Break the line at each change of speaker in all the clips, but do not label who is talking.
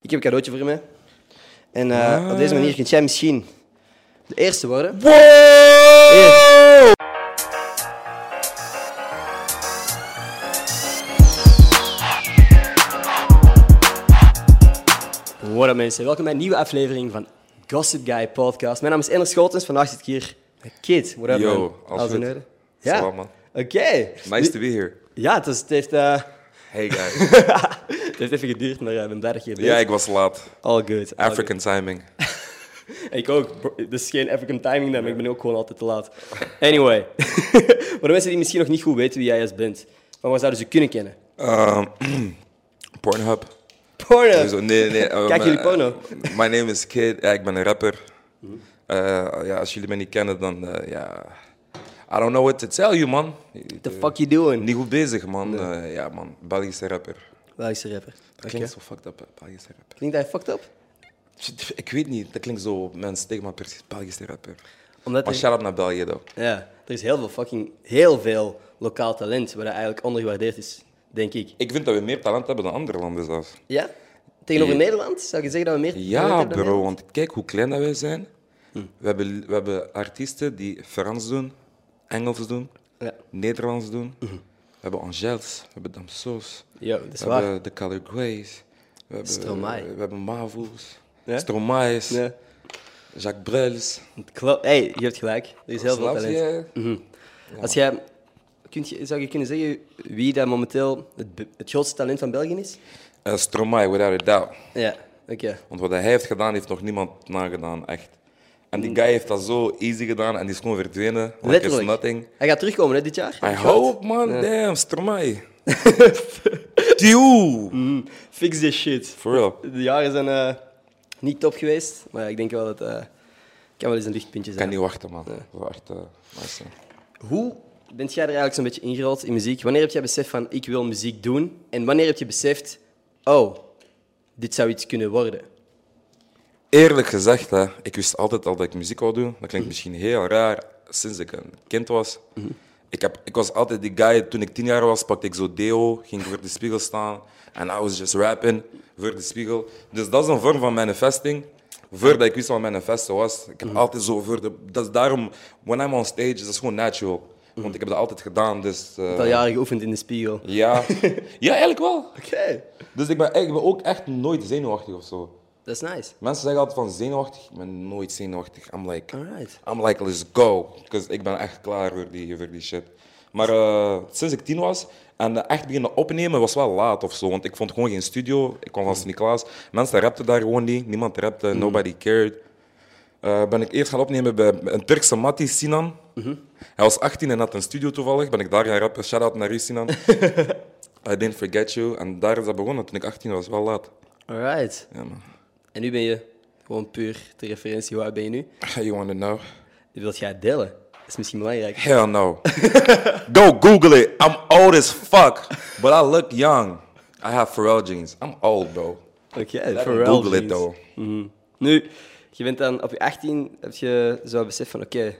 Ik heb een cadeautje voor je mee. En eh, op deze manier kunt jij misschien de eerste worden. Hier. What up mensen, welkom bij een nieuwe aflevering van Gossip Guy Podcast. Mijn naam is Ender Schotens, vandaag zit ik hier met Kid. What up
Yo,
man?
alles
Alles in
goed?
orde? Ja,
Salam,
oké.
man. Nice to be here.
Ja, het, is, het, heeft, eh,
Hey guys.
het heeft even geduurd, maar eh, ik ben blij dat je hier bent.
ja, ik was laat.
All good. all
African timing.
Ik ook. Bro, Dit is geen African timing dan, maar ik ben ook gewoon altijd te laat. Anyway. voor de mensen die misschien nog niet goed weten wie jij eens bent, van waar zouden ze je kunnen kennen?
Um, Pornhub.
Porno.
Zo, nee, nee. eh,
Kijken jullie
eh,
porno?
my name is Kid. Ja, ik ben een rapper. Eh, ja, als jullie mij niet kennen, dan... eh, ja, I don't know what to tell you, man.
The fuck you doing?
Niet goed bezig, man. Eh, ja, man. Belgische rapper.
Belgische rapper.
Dat klinkt zo fucked up, hè, Belgische rapper.
Klinkt hij fucked up?
Ik weet niet. Dat klinkt zo... Mensen tegen me precies Belgische rapper.
Omdat
Maar
er-
shout-out naar België, though.
Ja, er is heel veel fucking, heel veel lokaal talent waar dat eigenlijk ondergewaardeerd is, denk ik.
Ik vind dat we meer talent hebben dan andere landen zelfs.
Ja? Tegenover Nederland zou je zeggen dat Hm. we meer talent
Eh, Ja,
hebben dan
bro, want kijk hoe klein dat wij zijn. We, hebben, we hebben artiesten die Frans doen, Engels doen,
Nederland?
Nederlands doen. We hebben Angels, we hebben Damsos.
Hm. Ja, Yo, dat is
we
waar.
hebben de Color Greys. We hebben,
Stromae.
We hebben Mavo's,
Ja?
Stromae's,
Ja.
Jacques Brels. Hm.
Klopt. Hey, je hebt gelijk. Er is heel veel
Snap
talent.
je?
Als jij, kunt je, zou je kunnen zeggen wie dat momenteel het, be- het grootste talent van België is?
Eh, Stromae, without a doubt.
Ja, oké.
Want wat hij heeft gedaan, heeft nog niemand nagedaan, echt. En die guy heeft dat zo easy gedaan en die is gewoon verdwenen. Like it's
Hm. Letterlijk.
nothing.
Hij gaat terugkomen hè, dit jaar.
I
Heb je gehoord?
hope, man. Damn, Stromae. Tjoe.
Fix this shit.
For real.
De jaren zijn eh, niet top geweest, maar ik denk wel dat eh, het kan wel eens een lichtpuntje
Ik kan
zijn.
niet wachten, man. Wacht, eh, nice.
Hoe bent jij er eigenlijk zo'n beetje ingerold in muziek? Wanneer heb jij beseft van ik wil muziek doen? En wanneer heb je beseft, oh, dit zou iets kunnen worden?
Eerlijk gezegd, hè, ik wist altijd al dat ik muziek wou doen. Dat klinkt misschien heel raar, sinds ik een kind was. Ik, heb, ik was altijd die guy, toen ik tien jaar was, pakte ik zo deo, ging voor de spiegel staan. En I was just rapping voor de spiegel. Dus dat is een vorm van manifesting. Voordat ik wist wat manifesten was. Ik heb altijd zo voor de... Dat is daarom, when I'm on stage, dat is gewoon natural. Want ik heb dat altijd gedaan, dus... eh,
Al jaren geoefend in de spiegel. Oké.
ja. ja, eigenlijk wel. Dus ik ben, ik ben ook echt nooit zenuwachtig of zo.
Dat is nice.
Mensen zeggen altijd van zenuwachtig, ik ben nooit zenuwachtig. I'm like,
Alright.
I'm like let's go. Because ik ben echt klaar voor die, voor die shit. Maar eh, sinds ik tien was en eh, echt beginnen opnemen was wel laat of zo. Want ik vond gewoon geen studio. Ik kwam van Sint-Niklaas. Mensen rapten daar gewoon niet. Niemand rapte, nobody cared. Eh, ben ik eerst gaan opnemen bij een Turkse mattie, Sinan. Hij was 18 en had een studio toevallig. Ben ik daar gaan rappen. Shout out naar u, Sinan. I didn't forget you. En daar is dat begonnen toen ik 18 was. Wel laat.
Alright.
Ja, man.
En nu ben je gewoon puur de referentie. Hoe oud ben je nu?
You want to know?
Dit wilt jij delen. Dat is misschien belangrijk.
Hell no. Go Google it. I'm old as fuck, but I look young. I have Pharrell jeans. I'm old, bro.
Oké,
Let 'em
Pharrell
Google nou. it,
jeans.
though.
Nu, je bent dan op je 18, heb je zo besef van oké,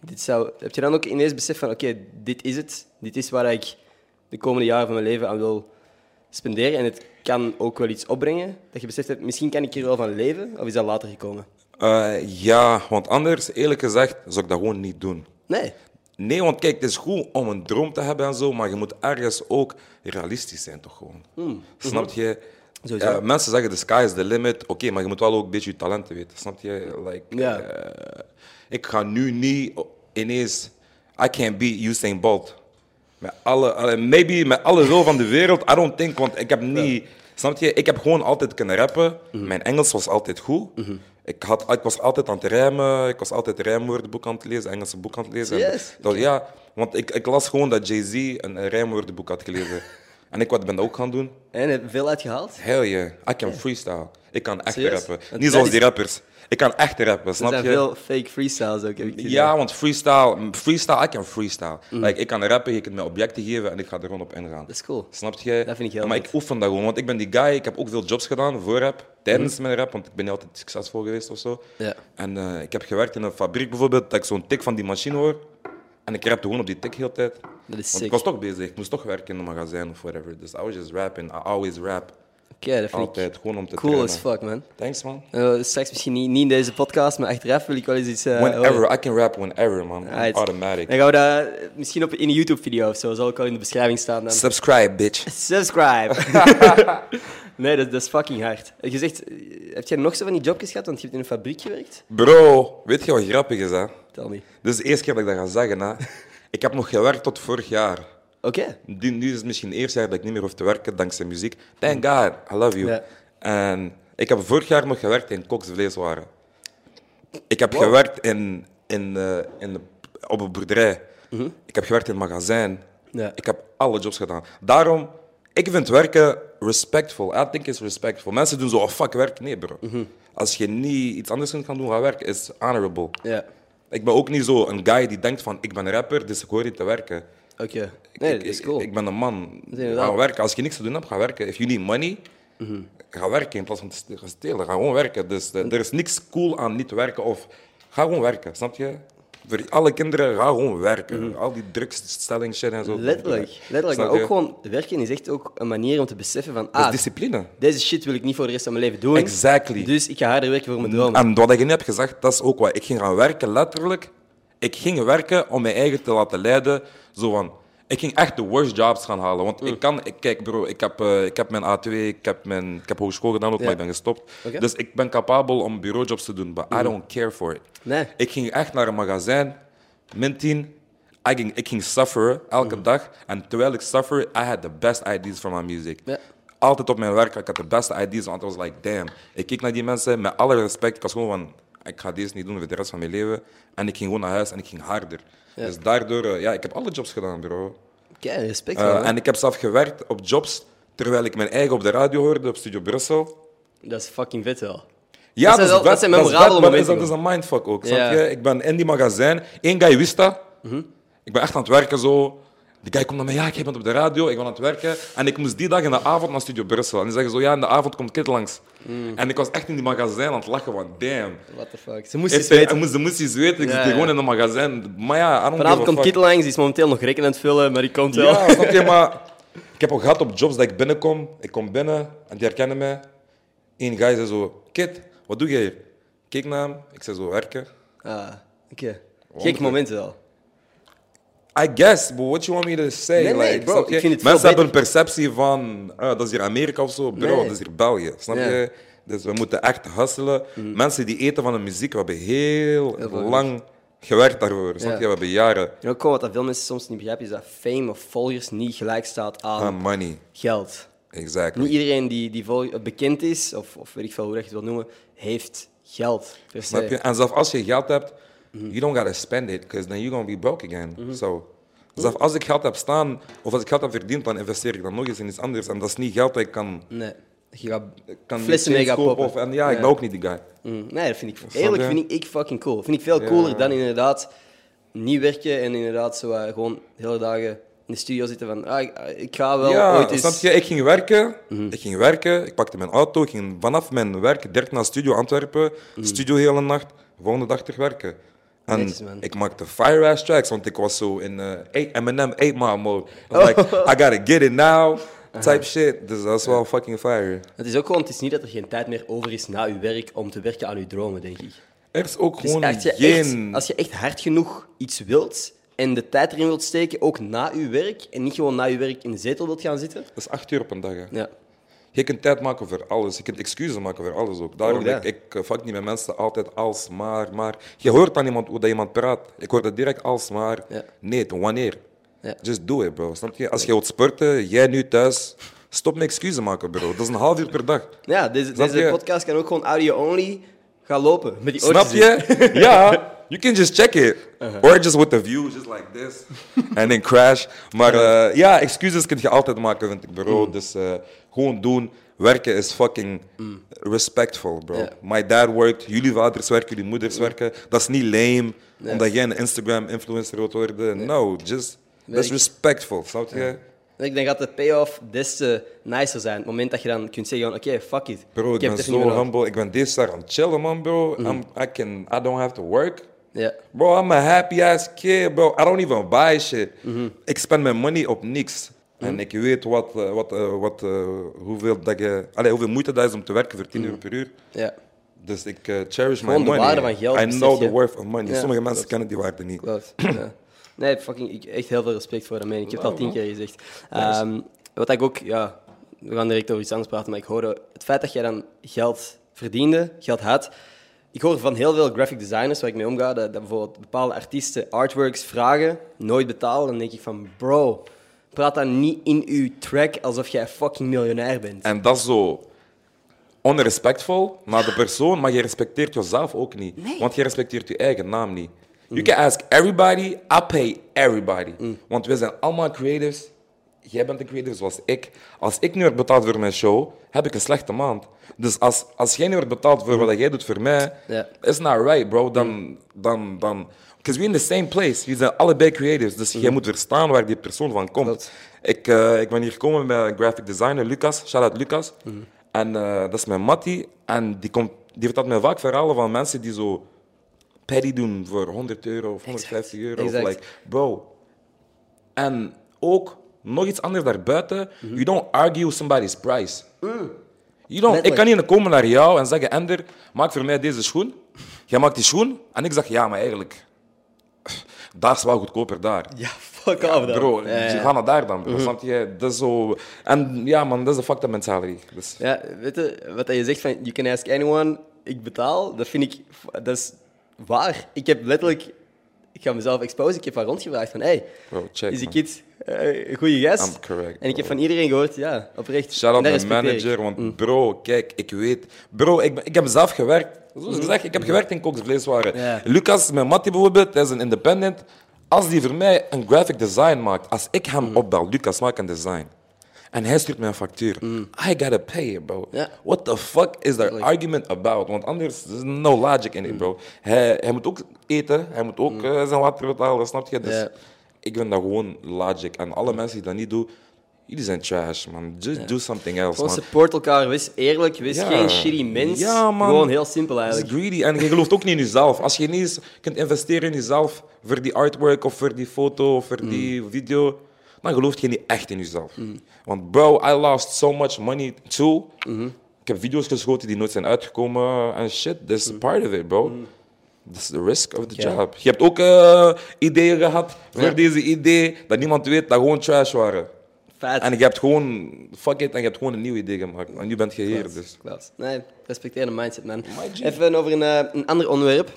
dit zou... Heb je dan ook ineens besef van oké, dit is het. Dit is waar ik de komende jaren van mijn leven aan wil spenderen. En het kan ook wel iets opbrengen. Dat je beseft hebt, misschien kan ik hier wel van leven. Of is dat later gekomen?
Eh, ja, want anders, eerlijk gezegd, zou ik dat gewoon niet doen.
Nee.
Nee, want kijk, het is goed om een droom te hebben en zo, maar je moet ergens ook realistisch zijn, toch gewoon. Snap je?
Hmm, mhm. Sowieso.
Eh, mensen zeggen the sky is the limit. Oké, maar je moet wel ook een beetje je talenten weten. Snap je? Like,
Ja.
eh, ik ga nu niet o- ineens. I can't beat Usain Bolt. Met alle, alle- maybe met alle wil van de wereld. I don't think, want ik heb niet. Snap je? Ik heb gewoon altijd kunnen rappen.
Mhm.
Mijn Engels was altijd goed. Ik, had, ik was altijd aan het rijmen. Ik was altijd rijmwoordenboek aan het lezen, Engelse boek aan het lezen.
Yes.
Dat, ja, want ik, ik las gewoon dat Jay-Z een een rijmwoordenboek had gelezen. en ik wat ben dat ook gaan doen.
En heb je veel uitgehaald?
Hell yeah, I can freestyle. Ik kan echt
Serieus? Want
rappen.
dat
Niet zoals
is-
die rappers. Ik kan echt rappen,
Er
snap
zijn
je?
veel fake freestyles ook, heb ik gezien.
Ja, want freestyle, freestyle, I can freestyle.
Mm.
Like, ik kan rappen, je kunt me objecten geven en ik ga er gewoon op ingaan.
Dat is cool.
Snap je?
Dat vind ik heel
Maar
vet.
ik oefen dat gewoon, want ik ben die guy, ik heb ook veel jobs gedaan voor rap, tijdens mijn rap, want ik ben niet altijd succesvol geweest of zo.
Mhm. Ja.
En eh, ik heb gewerkt in een fabriek bijvoorbeeld, dat ik zo'n tik van die machine hoor. En ik rapte gewoon op die tik heel de tijd.
Dat is
Want
sick.
ik was toch bezig, ik moest toch werken in een magazijn of whatever. Dus I was just rapping, I always rap.
dat vind ik
Altijd, gewoon om te
cool as
trainen.
fuck, man.
Thanks, man.
Eh, straks misschien niet, niet in deze podcast, maar achteraf wil ik wel eens iets... eh, horen.
Whenever, I can rap whenever, man.
Alright.
Automatic.
Dan gaan we dat eh, misschien op, in een YouTube-video of zo. Zal ik al in de beschrijving staan dan.
Subscribe, bitch.
Subscribe! nee, dat, dat is fucking hard. Eh, Je zegt, eh, heb jij nog zo van die jobjes gehad? Want je hebt in een fabriek gewerkt?
Bro, weet je wat grappig is, hè?
Tel niet.
Dit is de eerste keer dat ik dat ga zeggen, hè? Ik heb nog gewerkt tot vorig jaar.
Oké.
Nu, nu is het misschien het eerste jaar dat ik niet meer hoef te werken dankzij muziek. Thank God, I love you.
Ja.
En ik heb vorig jaar nog gewerkt in koksvleeswaren. Ik heb
Wow.
gewerkt in, in, eh, in de, op een boerderij. Ik heb gewerkt in een magazijn.
Mhm. Ja.
Ik heb alle jobs gedaan. Daarom, ik vind werken respectful. I think it's respectful. Mensen doen zo, oh fuck, werk. Nee, bro.
Mhm.
Als je niet iets anders kunt gaan doen, ga werken. It's honorable.
Ja.
Ik ben ook niet zo een guy die denkt van, ik ben rapper, dus ik hoor niet te werken.
Oké. Nee,
Ik-
dat is
ik-
cool.
Ik, ben een man.
inderdaad. Mhm.
Ga werken. Als je niks te doen hebt, ga werken. If you need money, ga werken in plaats van te st- gaan stelen. Ga gewoon werken. Dus eh, er is niks cool aan niet werken. Of ga gewoon werken, snap je? Voor alle kinderen, ga gewoon werken. Al die drugsstelling shit en zo.
Mhm. Letterlijk. Letterlijk.
Snap
Maar ook
je?
gewoon, werken is echt ook een manier om te beseffen van...
Dat is
Ah,
discipline.
deze shit wil ik niet voor de rest van mijn leven doen.
Exactly. Ah.
Dus ik ga harder werken voor mijn droom.
En wat ik net heb gezegd, dat is ook wat. Ik ging gaan werken, letterlijk. Ik ging werken om mijn eigen te laten leiden. Zo van, ik ging echt de worst jobs gaan halen. Want
Mm.
ik kan, ik, kijk bro, ik heb, eh, ik heb mijn A2, ik heb, mijn, ik heb hogeschool gedaan ook, maar ik ben gestopt.
Oké. Mhm.
Dus ik ben capabel om bureaujobs te doen, but I don't care for it.
Nee.
Ik ging echt naar een magazijn, min 10. Ik ging, ik ging sufferen elke dag. En terwijl ik suffer, I had the best ideas for my music.
Ja.
Altijd op mijn werk, ik had de beste ideas. Want I was like, damn. Ik keek naar die mensen met alle respect. Ik was gewoon van, ik ga deze niet doen voor de rest van mijn leven. En ik ging gewoon naar huis en ik ging harder. Dus daardoor, eh, ja, ik heb alle jobs gedaan, bro.
Oké, respect.
Eh,
man.
en ik heb zelf gewerkt op jobs, terwijl ik mijn eigen op de radio hoorde, op Studio Brussel.
Dat is fucking vet wel.
Ja,
Dat zijn wel-
dat, is
dat zijn
dat is
memorabele
bad, maar dat is-
momenten
Dat is een mindfuck ook,
Ja. Mhm.
snap je? Ik ben in die magazijn. Eén guy wist dat. Ik ben echt aan het werken zo. Die guy komt naar mij, ja, ik ben op de radio, ik ben aan het werken. En ik moest die dag in de avond naar Studio Brussel. En die zeggen zo, ja, in de avond komt Kit langs.
Mhm.
En ik was echt in die magazijn aan het lachen, want damn.
What the fuck. Ze moesten
Ik
iets weten.
moest, ze moest iets weten,
Ja,
ik zit
ja.
hier gewoon in de magazijn. Maar ja, I don't give a
Vanavond komt
fuck.
Kit langs, die is momenteel nog rekening aan het vullen, maar die komt wel.
Ja, snap je? Maar ik heb al gehad op jobs dat ik binnenkom. Ik kom binnen en die herkennen mij. Eén guy zei zo, Kit, wat doe jij hier? Ik Keek naar hem, ik zei zo, werken.
Ah, oké. Gek
Wonderlijk.
momenten wel.
I guess, but what you want me to say?
Nee, nee,
like,
bro,
snap je?
ik vind het veel
Mensen hebben een
beter.
perceptie van, ah, dat is hier Amerika of zo. Bro,
Nee.
dat is hier België, snap
Ja. Mm.
je? Dus we moeten echt hustelen. Mensen die eten van de muziek, we hebben heel
veel
lang gewerkt daarvoor. Snap
Ja.
je? We hebben jaren
En ook gewoon wat dat veel mensen soms niet begrijpen, is dat fame of volgers niet gelijk staat aan
aan money.
geld.
Exactly.
Niet iedereen die, die vol- bekend is, of, of weet ik veel hoe dat je het wil noemen, heeft geld. Per se.
Snap je? En zelfs als je geld hebt, you don't gotta spend it, because then you're gonna be broke again. So, zelfs als ik geld heb staan, of als ik geld heb verdiend, dan investeer ik dan nog eens in iets anders. En dat is niet geld dat ik kan,
Nee. Je gaat
kan niet
flessen mee
steeds
gaan
kopen
poppen.
Of, en ja, ik ben ook niet die guy.
Mm, nee, dat vind ik...
je?
Eerlijk vind ik, ik fucking cool. Vind ik veel cooler dan inderdaad niet werken en inderdaad zo, eh, gewoon hele dagen in de studio zitten van ah, ik, ik ga wel
ja,
ooit Mhm. eens...
snap je? Ik ging werken, ik ging werken, ik pakte mijn auto, ik ging vanaf mijn werk direct naar studio Antwerpen,
Mhm.
studio hele nacht, volgende dag terug werken. En
Netjes, man.
ik maakte fire ass tracks, want ik was zo in eh, eight- Eminem 8 mile mode. I was like, I gotta get it now,
Uh-huh.
type shit. Dus dat is wel fucking fire.
Het is ook gewoon, het is niet dat er geen tijd meer over is na uw werk om te werken aan uw dromen, denk ik.
Er is ook
Het is
gewoon
echt, je
geen...
echt, als je echt hard genoeg iets wilt en de tijd erin wilt steken, ook na uw werk, en niet gewoon na uw werk in de zetel wilt gaan zitten.
Dat is acht uur op een dag. Hè.
Ja,
Je kunt tijd maken voor alles. Je kunt excuses maken voor alles ook. Daarom
Ook
ik,
dat.
ik eh, fuck niet met mensen altijd als maar, maar. Je hoort aan iemand hoe dat iemand praat. Ik hoor dat direct als maar.
Ja.
Nee, toen wanneer?
Ja.
Just do it, bro. Snap je? Als je wilt sporten, jij nu thuis, stop met excuses maken, bro. Dat is een half uur per dag.
ja deze,
Snap
deze
je?
podcast kan ook gewoon audio-only gaan lopen. Met die
Snap
oortjes in.
je? ja. You can just check it.
Uh-huh.
Or just with the view, just like this. En dan crash. Maar
Uh-huh.
eh, ja, excuses kun je altijd maken, vind ik,
Mm.
bro. Dus eh, gewoon doen. Werken is fucking respectful, bro.
Mm. Ja. Mm.
My dad worked, jullie vaders werken, jullie moeders werken. Dat is niet lame, omdat jij een Instagram-influencer wilt worden. No, just... That's
Werk.
respectful, snap je?
En ik denk dat de payoff des te nicer zijn. Het moment dat je dan kunt zeggen: van, oké, fuck it.
Bro, ik,
heb
ben
het even niet meer Mm-hmm.
zo
nodig.
humble. Ik ben deze jaar aan het chillen, man, bro. I'm, I, can, I don't have to work.
Ja. Mm-hmm.
Bro, I'm a happy ass kid, bro. I don't even buy shit. Ik spend mijn money op niks. En ik weet wat, eh, wat, eh, wat, eh, hoeveel, dat je, allee, hoeveel moeite dat is om te werken voor 10 euro per uur.
Ja,
Dus ik eh, cherish
Mm-hmm. Gewoon
my
de
money.
waarde van geld,
I
besef
know
je.
the worth of money.
Ja,
Sommige mensen
klopt.
kennen die waarde niet.
klopt. ja. Nee, fucking, ik, echt heel veel respect voor dat mening. Ik heb het al tien keer gezegd.
Nice.
Ehm, wat ik ook, ja, we gaan direct over iets anders praten, maar ik hoorde het feit dat jij dan geld verdiende, geld had. Ik hoor van heel veel graphic designers waar ik mee omga, dat, dat bijvoorbeeld bepaalde artiesten artworks vragen, nooit betalen. Dan denk ik van, bro, praat dan niet in uw track alsof jij fucking miljonair bent.
En dat is zo onrespectvol naar de persoon, maar je respecteert jezelf ook niet.
Nee.
Want je respecteert je eigen naam niet. You can ask everybody, I pay everybody.
Mm.
Want we zijn allemaal creators. Jij bent een creator zoals ik. Als ik nu word betaald voor mijn show, heb ik een slechte maand. Dus als, als jij nu wordt betaald voor wat jij doet voor mij,
Mm. Ja.
is not right, bro. Dan,
Mm.
dan, dan. Because we're in the same place. Jullie zijn allebei creators.
Mm.
Dus jij moet verstaan waar die persoon van komt.
Klopt.
Ik, eh, ik ben hier gekomen met een graphic designer, Lucas. Shout-out Lucas.
Mm.
En eh, dat is mijn mattie. En die, komt, die vertelt mij vaak verhalen van mensen die zo paddy doen voor 100 euro of 150 euro.
exact.
Of like, bro. En ook nog iets anders daarbuiten.
Mm-hmm.
You don't argue somebody's price. You don't, ik
Letterlijk.
kan niet komen naar jou en zeggen, Ender, maak voor mij deze schoen. Jij maakt die schoen. En ik zeg, ja, maar eigenlijk... Daar is wel goedkoper daar.
Ja, fuck off dan.
Bro,
Ja, Mhm. ja.
je gaat naar daar dan. bro. Snap je? Dat is zo... En ja, man, dat is de fucked up mentality. Dus,
Ja, weet je, wat je zegt van you can ask anyone, ik betaal, dat vind ik, dat is waar. Ik heb letterlijk, ik ga mezelf exposen, ik heb haar rondgevraagd van hey,
Bro, check,
is die
man.
kid eh, een goede gast?
I'm correct,
En ik
bro.
heb van iedereen gehoord, ja, oprecht.
Shout-out
En dat Mhm.
mijn
respecteer ik.
manager, want bro, kijk, ik weet... Bro, ik, ben- ik heb zelf gewerkt. Zoals gezegd, ik heb gewerkt in koksvleeswaren.
Mhm. Ja.
Lucas, mijn mattie bijvoorbeeld, hij is een independent. Als die voor mij een graphic design maakt, als ik hem
Mm.
opbel, Lucas, maak een design. En hij stuurt mij een factuur. I gotta pay it, bro.
Mm. Ja.
What the fuck is there argument about? Want anders, there's no logic in
Mm.
it, bro. Hij, hij moet ook eten, hij moet ook eh, zijn water betalen, snap je? Dus
Ja.
ik vind dat gewoon logic. En alle mensen die dat niet doen, jullie zijn trash, man. Just do something else,
Gewoon
man.
support elkaar, wees eerlijk, wees
Ja.
geen shitty mens.
Ja, man.
Gewoon heel simpel
Het
eigenlijk.
is greedy en je gelooft ook niet in jezelf. Als je niet eens kunt investeren in jezelf voor die artwork of voor die foto of voor die
Mm.
video, dan geloof je niet echt in jezelf. Want bro, I lost so much money too.
Mm-hmm.
Ik heb video's geschoten die nooit zijn uitgekomen en shit. That's part of it, bro. That's the risk of the
Mm. Ja.
job. Je hebt ook eh, ideeën gehad voor
Ja.
deze idee dat niemand weet dat gewoon trash waren.
Feit.
En je hebt gewoon, fuck it, en je hebt gewoon een nieuw idee gemaakt. En nu bent je hier, dus.
Klopt. Nee, respecteer de mindset, man.
My G.
Even over een, eh, een ander onderwerp.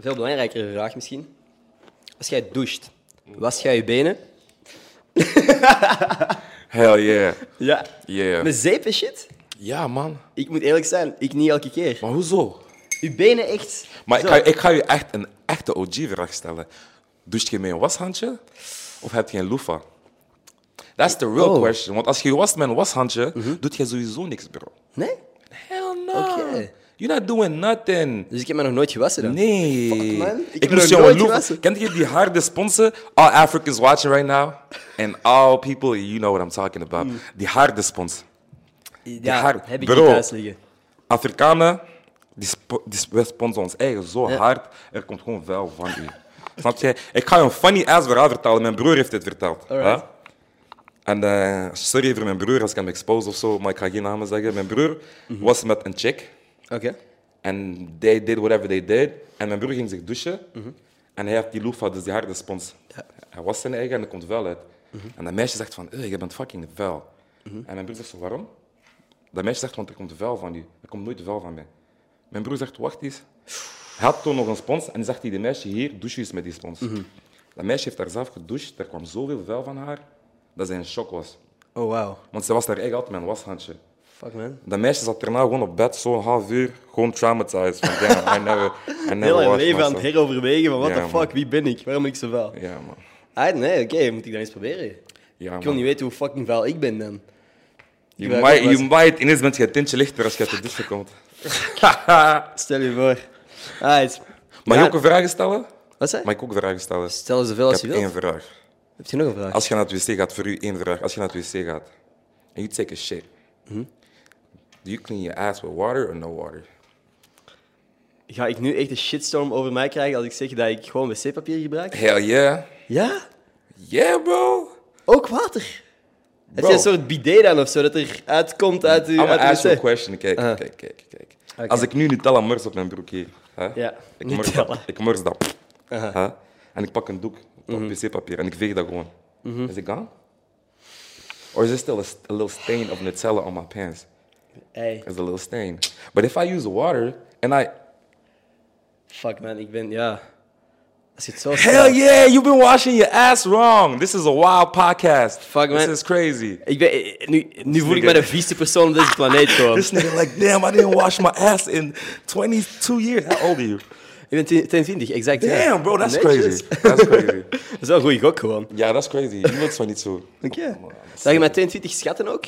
Veel belangrijkere vraag misschien. Als jij doucht, was jij je benen?
Hell yeah.
Ja.
Yeah.
Met zeep en shit?
Ja, man.
Ik moet eerlijk zijn, ik niet elke keer.
Maar hoezo?
Uw benen echt.
Maar
zo.
ik ga, ik ga je echt een echte OG-vraag stellen. Doucht je met een washandje of heb je een loofah? That's the real
Oh. Mhm.
question. Want als je wast met een washandje, doet je sowieso niks, bro.
Nee?
Hell no.
Oké.
You're not doing nothing.
Dus ik heb me nog nooit gewassen dan?
Nee.
Fuck, man. Ik heb
Ik
nog nooit
moest jou een loofah...
gewassen.
Kent je die harde sponsen? All Africans watching right now. And all people, you know what I'm talking about.
Mm.
Die harde spons.
Ja,
haar-
heb ik
bro.
niet thuis liggen.
Afrikanen, die, spo- die sp- wij sponsen ons eigen zo
Ja.
hard, er komt gewoon vuil van u. Snap je? Ik ga je een funny ass verhaal vertellen. Mijn broer heeft dit verteld.
Alright.
hè? En eh, sorry voor mijn broer als ik hem expose of zo, maar ik ga geen namen zeggen. Mijn broer
Mhm.
was met een chick
Oké.
en they did whatever they did. En mijn broer ging zich douchen en hij had die loofah, dus die harde spons. Hij was zijn eigen en er komt vuil uit. En dat meisje zegt van, "Eh, je bent fucking vuil. En mijn broer zegt zo, waarom? Dat meisje zegt, want er komt vuil van u. Er komt nooit vuil van mij. Mijn broer zegt, wacht eens. Hij had toen nog een spons en die zegt hij, de meisje hier, douche eens met die spons. Dat meisje heeft daar zelf gedoucht, er kwam zoveel vuil van haar, dat zij in shock was.
Oh, wow.
Want ze was daar eigenlijk altijd met een washandje.
Fuck, man.
Dat meisje zat daarna gewoon op bed, zo'n half uur, gewoon traumatized. Van, damn, I never, I never
Heel mijn
washed
leven aan het
myself."
heroverwegen van what
Ja,
the fuck,
man.
wie ben ik? Waarom ben ik zo vuil?
Ja, man.
Ah, nee, oké, moet ik dan eens proberen.
Ja,
Ik wil
man.
niet weten hoe fucking vuil ik ben dan.
Je
wil
might,
ook wel
je
eens-
might, ineens bent je een tintje lichter als je uit de douche komt.
Stel je voor. Alright.
Mag
Ja,
je ook een vraag stellen?
Wat zei?
Mag ik ook vragen stellen?
Stel er zoveel
Ik
als je
heb
wilt.
één vraag.
Heb je nog een vraag?
Als je naar het wc gaat, voor u één vraag. Als je naar het wc gaat en je take a shit,
Mhm.
do you clean your ass with water or no water?
Ga ik nu echt een shitstorm over mij krijgen als ik zeg dat ik gewoon wc-papier gebruik?
Hell yeah.
Ja?
Yeah, bro.
Ook water? Heb je een soort bidet dan of zo, dat er uitkomt uit je...
I'm gonna
uit uw
ask you a
wc?
question. Kijk,
Ah.
kijk, kijk, kijk.
Oké.
Als ik nu Nutella mors op mijn broek hier, hè?
Ja,
ik, mors dat,
Nutella. Uh-huh.
ik mors dat. hè? En ik pak een doek op
Mhm.
wc-papier en ik veeg dat gewoon. Is it gone? Or is there still a, st- a little stain of Nutella on my pants?
Ey,
There's a little stain. But if I use water and I...
fuck man, ik ben... Ja. Als je het zo
Hell
stelt.
yeah, you've been washing your ass wrong. This is a wild podcast.
Fuck,
This
man.
is crazy.
Ik ben, eh, nu nu voel ik
nigga.
me de vieste persoon op deze planeet gewoon.
This nigga like, damn, I didn't wash my ass in 22 years. How old are you?
Ik ben 22, exact. ja.
Damn, bro, that's
Netjes.
crazy. That's crazy.
Dat is wel een goede gok gewoon.
Ja, dat is crazy. Je wilt zo niet zo.
Oké. Zag je met 22 schatten ook?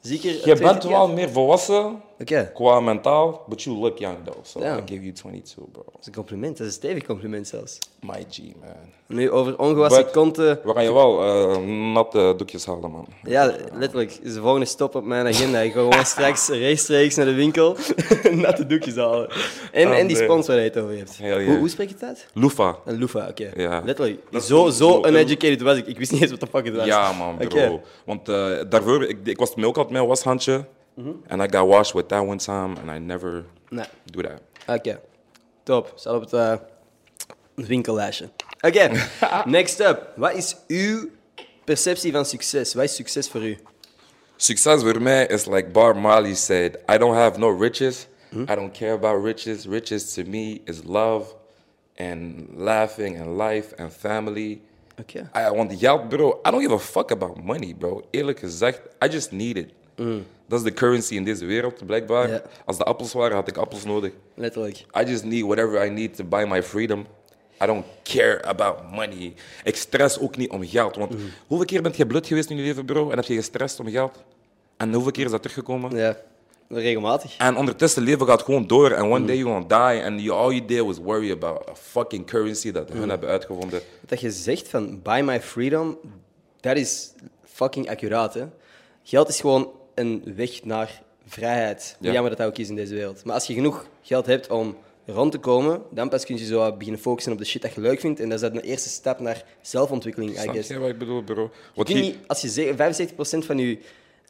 Zeker.
Je bent wel meer volwassen
Oké, dat
qua mentaal, but you look young though. So
Ja.
I give you 22, bro.
is een compliment. Dat is een stevig compliment zelfs.
My G, man.
Nu over ongewassen
But-
konten.
We gaan je wel eh, natte doekjes halen, man.
Ja, letterlijk. is de volgende stop op mijn agenda. Ik ga gewoon straks rechtstreeks naar de winkel natte doekjes halen. En,
Oh,
en die
nee.
sponsor waar je het over hebt.
Hell yeah.
Hoe, hoe spreek je het uit?
Lufa.
Een loefa, oké.
Ja.
Letterlijk.
Dat is
Zo,
zo-
zo
zo-
uneducated was ik. Ik wist niet eens wat de fuck het was.
Ja, man, bro.
Oké.
Want eh, daarvoor, ik, ik was ook altijd mijn washandje. And I got washed with that one time, and I never
Mhm. Nee.
do that.
Oké, top. Staat op het eh, winkellijstje. Oké, next up. Wat is uw perceptie van succes? Wat is succes voor u?
Success with me is like Bar Marley said, I don't have no riches. I don't care about riches. Riches to me is love and laughing and life and family.
Oké.
I want geld, bro. I don't give a fuck about money, bro. Eerlijk gezegd, I just need it. Dat is de currency in deze wereld, blijkbaar.
Ja.
Als de appels waren, had ik appels nodig.
Letterlijk.
I just need whatever I need to buy my freedom. I don't care about money. Ik stress ook niet om geld. Want
Mm.
hoeveel keer bent je blut geweest in je leven, bro? En heb je gestrest om geld? En hoeveel keer is dat teruggekomen?
Ja, regelmatig.
En ondertussen, leven gaat gewoon door. En
Mm.
one day you're gonna die. And you, all you did was worry about a fucking currency dat
Mm.
hun hebben uitgevonden.
Dat je zegt van buy my freedom, dat is fucking accuraat. Hè? Geld is gewoon een weg naar vrijheid. Hoe
Ja.
Jammer dat dat ook is in deze wereld. Maar als je genoeg geld hebt om rond te komen, dan pas kun je zo wat beginnen focussen op de shit dat je leuk vindt. En dat is dan de eerste stap naar zelfontwikkeling, I
Snap
guess.
je wat ik bedoel, bro? Wat
Kun je niet, als je ze- 75% van je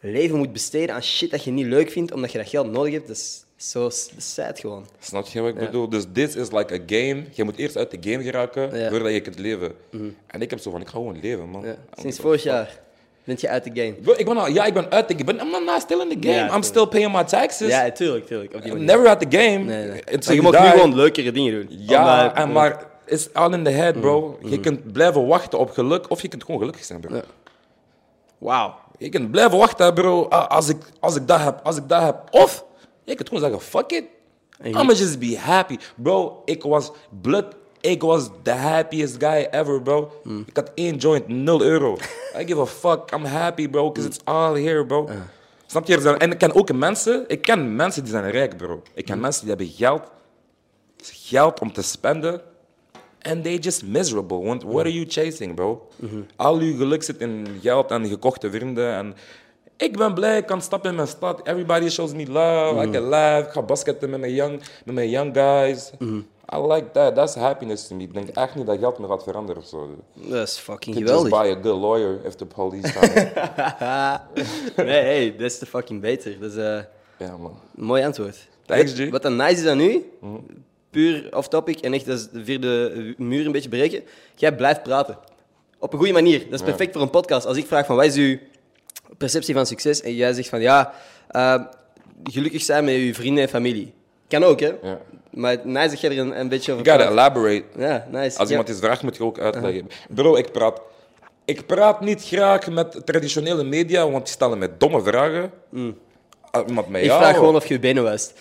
leven moet besteden aan shit dat je niet leuk vindt, omdat je dat geld nodig hebt, dat is zo s- sad gewoon.
Snap je wat ik bedoel? Dus dit is like a game. Je moet eerst uit de game geraken
Ja. Mm-hmm.
voordat je kunt leven. En ik heb zo van, ik ga gewoon leven, man.
Ja.
I don't
Sinds
give a
vorig jaar ben je uit de game.
Bro, ik ben al, ja, ik ben uit de game. but I'm not still in the game.
Ja,
I'm still paying my taxes.
Ja, tuurlijk, tuurlijk. Op die
I'm
manier.
never out the game.
Nee, nee.
It's
Maar je
like
mag nu
die-
gewoon leukere dingen doen.
Ja,
Omdat- Mm.
en maar it's all in the head, bro. Je kunt blijven wachten op geluk of je kunt gewoon gelukkig zijn, bro.
Wauw.
Je kunt blijven wachten, bro. Ah, Als ik, als ik dat heb, als ik dat heb. Of je kunt gewoon zeggen, fuck it.
En je-
I'ma just be happy. Bro, ik was blut. Ik was the happiest guy ever, bro.
Mm.
Ik had één joint, 0 euro. I give a fuck. I'm happy, bro, because
Mm.
it's all here, bro. Snap je? Er zijn- En ik ken ook mensen. Ik ken mensen die zijn rijk, bro. Ik
Mm.
ken mensen die hebben geld. Geld om te spenden. And they just miserable. Want what are you chasing, bro? Al uw geluk zit in geld en gekochte vrienden. En ik ben blij, ik kan stappen in mijn stad. Everybody shows me love. I can laugh. Ik ga basketten met mijn young, met mijn young guys. I like that. That's happiness to me. Ik denk echt niet dat geld me gaat veranderen of zo.
Dat is fucking
You Just
geweldig.
buy a good lawyer if the police come.
nee, hey, dat is te fucking beter. Dat is eh,
ja, man.
een mooi antwoord.
Thanks,
Wat-
G. Mhm.
Wat dan nice is aan nu, puur off-topic en echt dat is de vierde muur een beetje breken, jij blijft praten. Op een goede manier. Dat is perfect voor een podcast. Als ik vraag van, wat is uw perceptie van succes? En jij zegt van, ja, eh, gelukkig zijn met je vrienden en familie. Kan ook, hè?
Ja.
Maar nice dat jij er een, een beetje over
You gotta
praat.
elaborate.
Ja, nice.
Als
Ja.
iemand iets vraagt, moet je ook uitleggen. Bro, ik praat. Ik praat niet graag met traditionele media, want die stellen mij domme vragen. Als Iemand mij
Mm. Ik
ja,
vraag
hoor.
gewoon of je benen was.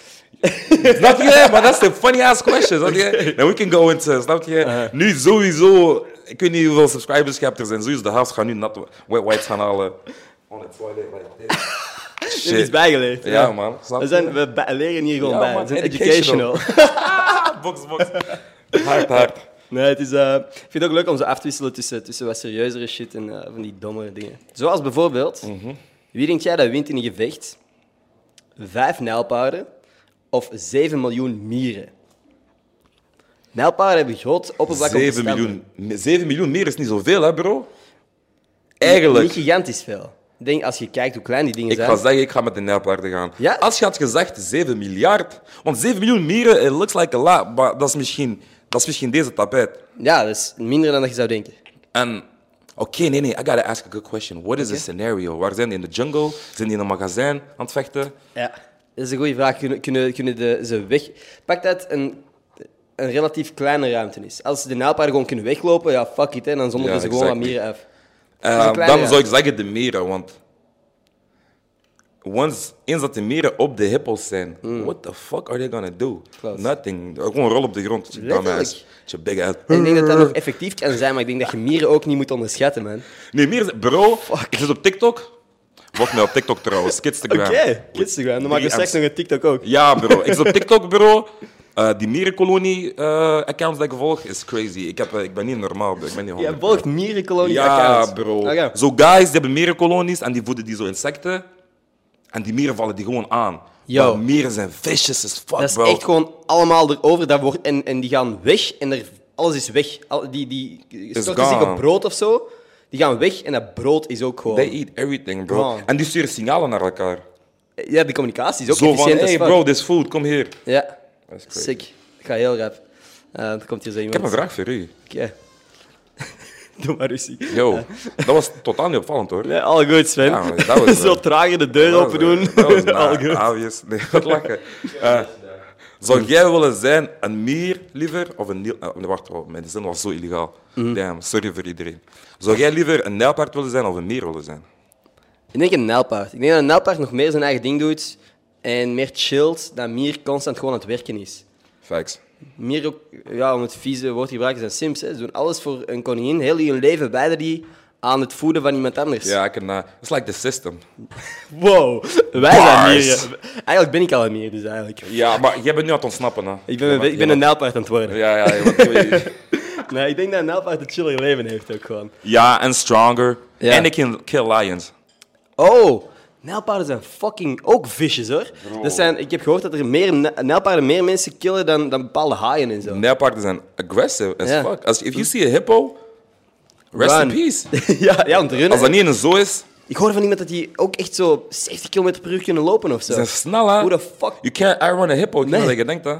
Snap je? Maar dat is een funny ass question. Snap je? Now we can go into. Snap je? Nu sowieso. Ik weet niet hoeveel subscribers je hebt. Er zijn sowieso de helft gaan nu nat wet wipes gaan halen. On the toilet like this.
Je hebt iets
Shit.
bijgeleerd.
Ja, man. Snap
We,
je?
zijn, we ba- leren hier gewoon
Ja,
bij.
man,
We zijn educational.
educational. Ah, box, box. Hard, hard.
Nee, het is, eh, ik vind het ook leuk om ze af te wisselen tussen, tussen wat serieuzere shit en eh, van die domme dingen. Zoals bijvoorbeeld,
Mhm.
wie denk jij dat wint in een gevecht? Vijf nijlpaarden of zeven miljoen mieren? Nijlpaarden hebben groot oppervlak om te
7
stampen.
miljoen. 7 miljoen meer is niet zoveel, hè, bro? Eigenlijk.
Niet gigantisch veel. denk, als je kijkt hoe klein die dingen
Ik
zijn.
ga zeggen, ik ga met de nijlpaarden gaan.
Ja?
Als je had gezegd 7 miljard, want 7 miljoen mieren, it looks like a lot, maar dat is misschien, dat is misschien deze tapijt.
Ja, dat is minder dan dat je zou denken.
En oké, nee, nee, I gotta ask a good question. What is the scenario? Waar zijn die in de jungle? Zijn die in een magazijn aan het vechten?
Ja. Dat is een goede vraag. Kunnen, kunnen, kunnen de, ze weg... Pak dat een, een relatief kleine ruimte is. Als de nijlpaarden gewoon kunnen weglopen, ja, fuck it, hè. Dan zonder
Ja,
ze gewoon wat
exactly.
mieren af.
Eh,
een kleine
dan
ruimte.
zou ik zeggen de meren, want once, eens dat de meren op de hippos zijn, what the fuck are they gonna do?
Mm. Klopt.
Nothing. Gewoon rol op de grond. Dumbass. Je big ass.
Ik denk dat dat nog effectief kan zijn, maar ik denk dat je mieren ook niet moet onderschatten, man.
Nee, meer is- Bro, ik zit op TikTok. Wat mij op TikTok trouwens, Kidstagram.
Instagram. Dan maak je
Drie
straks
apps.
nog een TikTok ook.
Ja, bro. Ik zit op TikTok, bro. Eh, die mierenkolonie-accounts die ik volg, is crazy. Ik, heb, eh, ik ben niet normaal, bro. Ik ben niet
Jij
honderd.
volgt mierenkolonie
Ja, bro.
Oké.
Zo guys, die hebben mierenkolonies en die voeden die zo insecten. En die mieren vallen die gewoon aan.
Yo.
Maar mieren zijn vicious as fuck,
Dat is
bro.
echt gewoon allemaal erover. Dat wordt, en, en die gaan weg en er, alles is weg. Al, die die storten zich
gone.
op brood of zo. Die gaan weg en dat brood is ook gewoon...
They eat everything, bro.
Gone.
En die sturen signalen naar elkaar.
Ja, de communicatie is ook
Zo van,
efficiënt
hey
as fuck.
bro, this food, kom hier.
Ja.
is crazy.
Sick. Ik ga heel rap. Eh er komt hier zo
Ik heb
iemand.
een vraag voor u.
Oké. Doe maar ruzie.
Yo, dat was totaal niet opvallend, hoor.
Ja, al goed, Sven.
Ja, maar dat was,
zo
eh,
trager de deur
Dat was-
open doen.
Dat was
Al
na-
goed.
obvious. Nee, wat lachen. Eh,
Hm.
zou jij willen zijn een mier liever of een niel... eh, wacht, oh, mijn zin was zo illegaal.
Hm.
Damn, sorry voor iedereen. Zou jij liever een nijlpaard willen zijn of een mier willen zijn?
Ik denk een nijlpaard. Ik denk dat een nijlpaard nog meer zijn eigen ding doet en meer chillt dan Mier constant gewoon aan het werken is.
Facts.
Mier ook, ja, om het vieze woord te gebruiken, zijn sims. Hè. Ze doen alles voor een koningin. Heel hun leven wijden die aan het voeden van iemand anders.
Ja, ik kan... It's like the system.
Wow, wij zijn
Bars.
mieren. Eigenlijk ben ik al een mier, dus eigenlijk.
Ja, maar jij bent nu aan het ontsnappen, hè?
Ik ben, ik ben een nijlpaard aan het worden.
Ja, ja, je bent-
Nee, ik denk dat een nijlpaard een chiller leven heeft ook gewoon.
ja, en stronger.
Ja.
En ik can kill lions.
Oh, nijlpaarden zijn fucking ook visjes hoor. Dat zijn, ik heb gehoord dat er meer ni- nijlpaarden meer mensen killen dan, dan bepaalde haaien en zo.
Nijlpaarden zijn aggressive as
Ja.
fuck. Als, if you see a hippo, rest in
Run.
peace.
ja, ja, om te runnen.
Als dat niet in een zoo is,
Ik hoorde van iemand dat die ook echt zo 70 km per uur kunnen lopen of zo.
ze zijn snel, hè?
Hoe de fuck?
You can't outrun a hippo. Ik
Nee.
nee. dat je denkt, hè?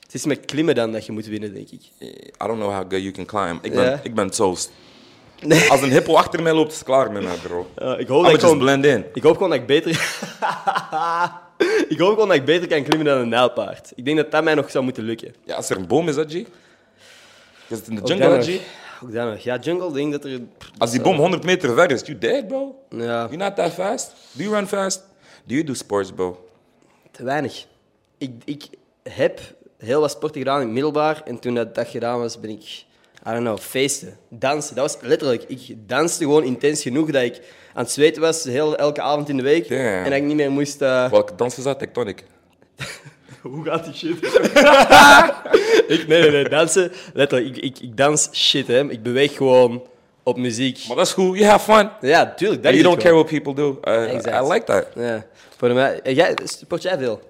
Het is met klimmen dan dat je moet winnen, denk ik.
I don't know how good you can climb. Ik ben,
Ja.
ik ben toast.
Nee.
Als een hippo achter mij loopt, is het klaar met mij, bro.
Eh, ik,
I'm
hoop dat ik,
just
gewoon,
blend in.
ik hoop gewoon dat ik beter... ik hoop gewoon dat ik beter kan klimmen dan een nijlpaard. Ik denk dat dat mij nog zou moeten lukken.
Ja, als er een boom is, dat G. Je zit in de
Ook
jungle,
dat
dat G.
nog. Ook dat nog. Ja, jungle, denk dat er...
Als die boom 100 meter ver is, you dead, bro.
Ja,
You're not that fast. Do you run fast? Do you do sports, bro?
te weinig. Ik, ik heb heel wat sporten gedaan in het middelbaar. En toen dat, dat gedaan was, ben ik... I don't know, feesten, dansen. Dat was letterlijk... Ik danste gewoon intens genoeg dat ik aan het zweten was heel, elke avond in de week.
Damn.
En dat ik niet meer moest... eh,
Welke dans is dat? Tectonic.
Hoe gaat die shit? ik, nee, nee, nee, dansen. Letterlijk, ik, ik, ik dans shit, hè. Ik beweeg gewoon op muziek.
Maar dat is goed. You have fun.
Ja, tuurlijk. Dat
And
is
you
het
don't care what people do. I,
Exact.
I like that.
gewoon. Ja, voor mij. En Jij, sport jij veel?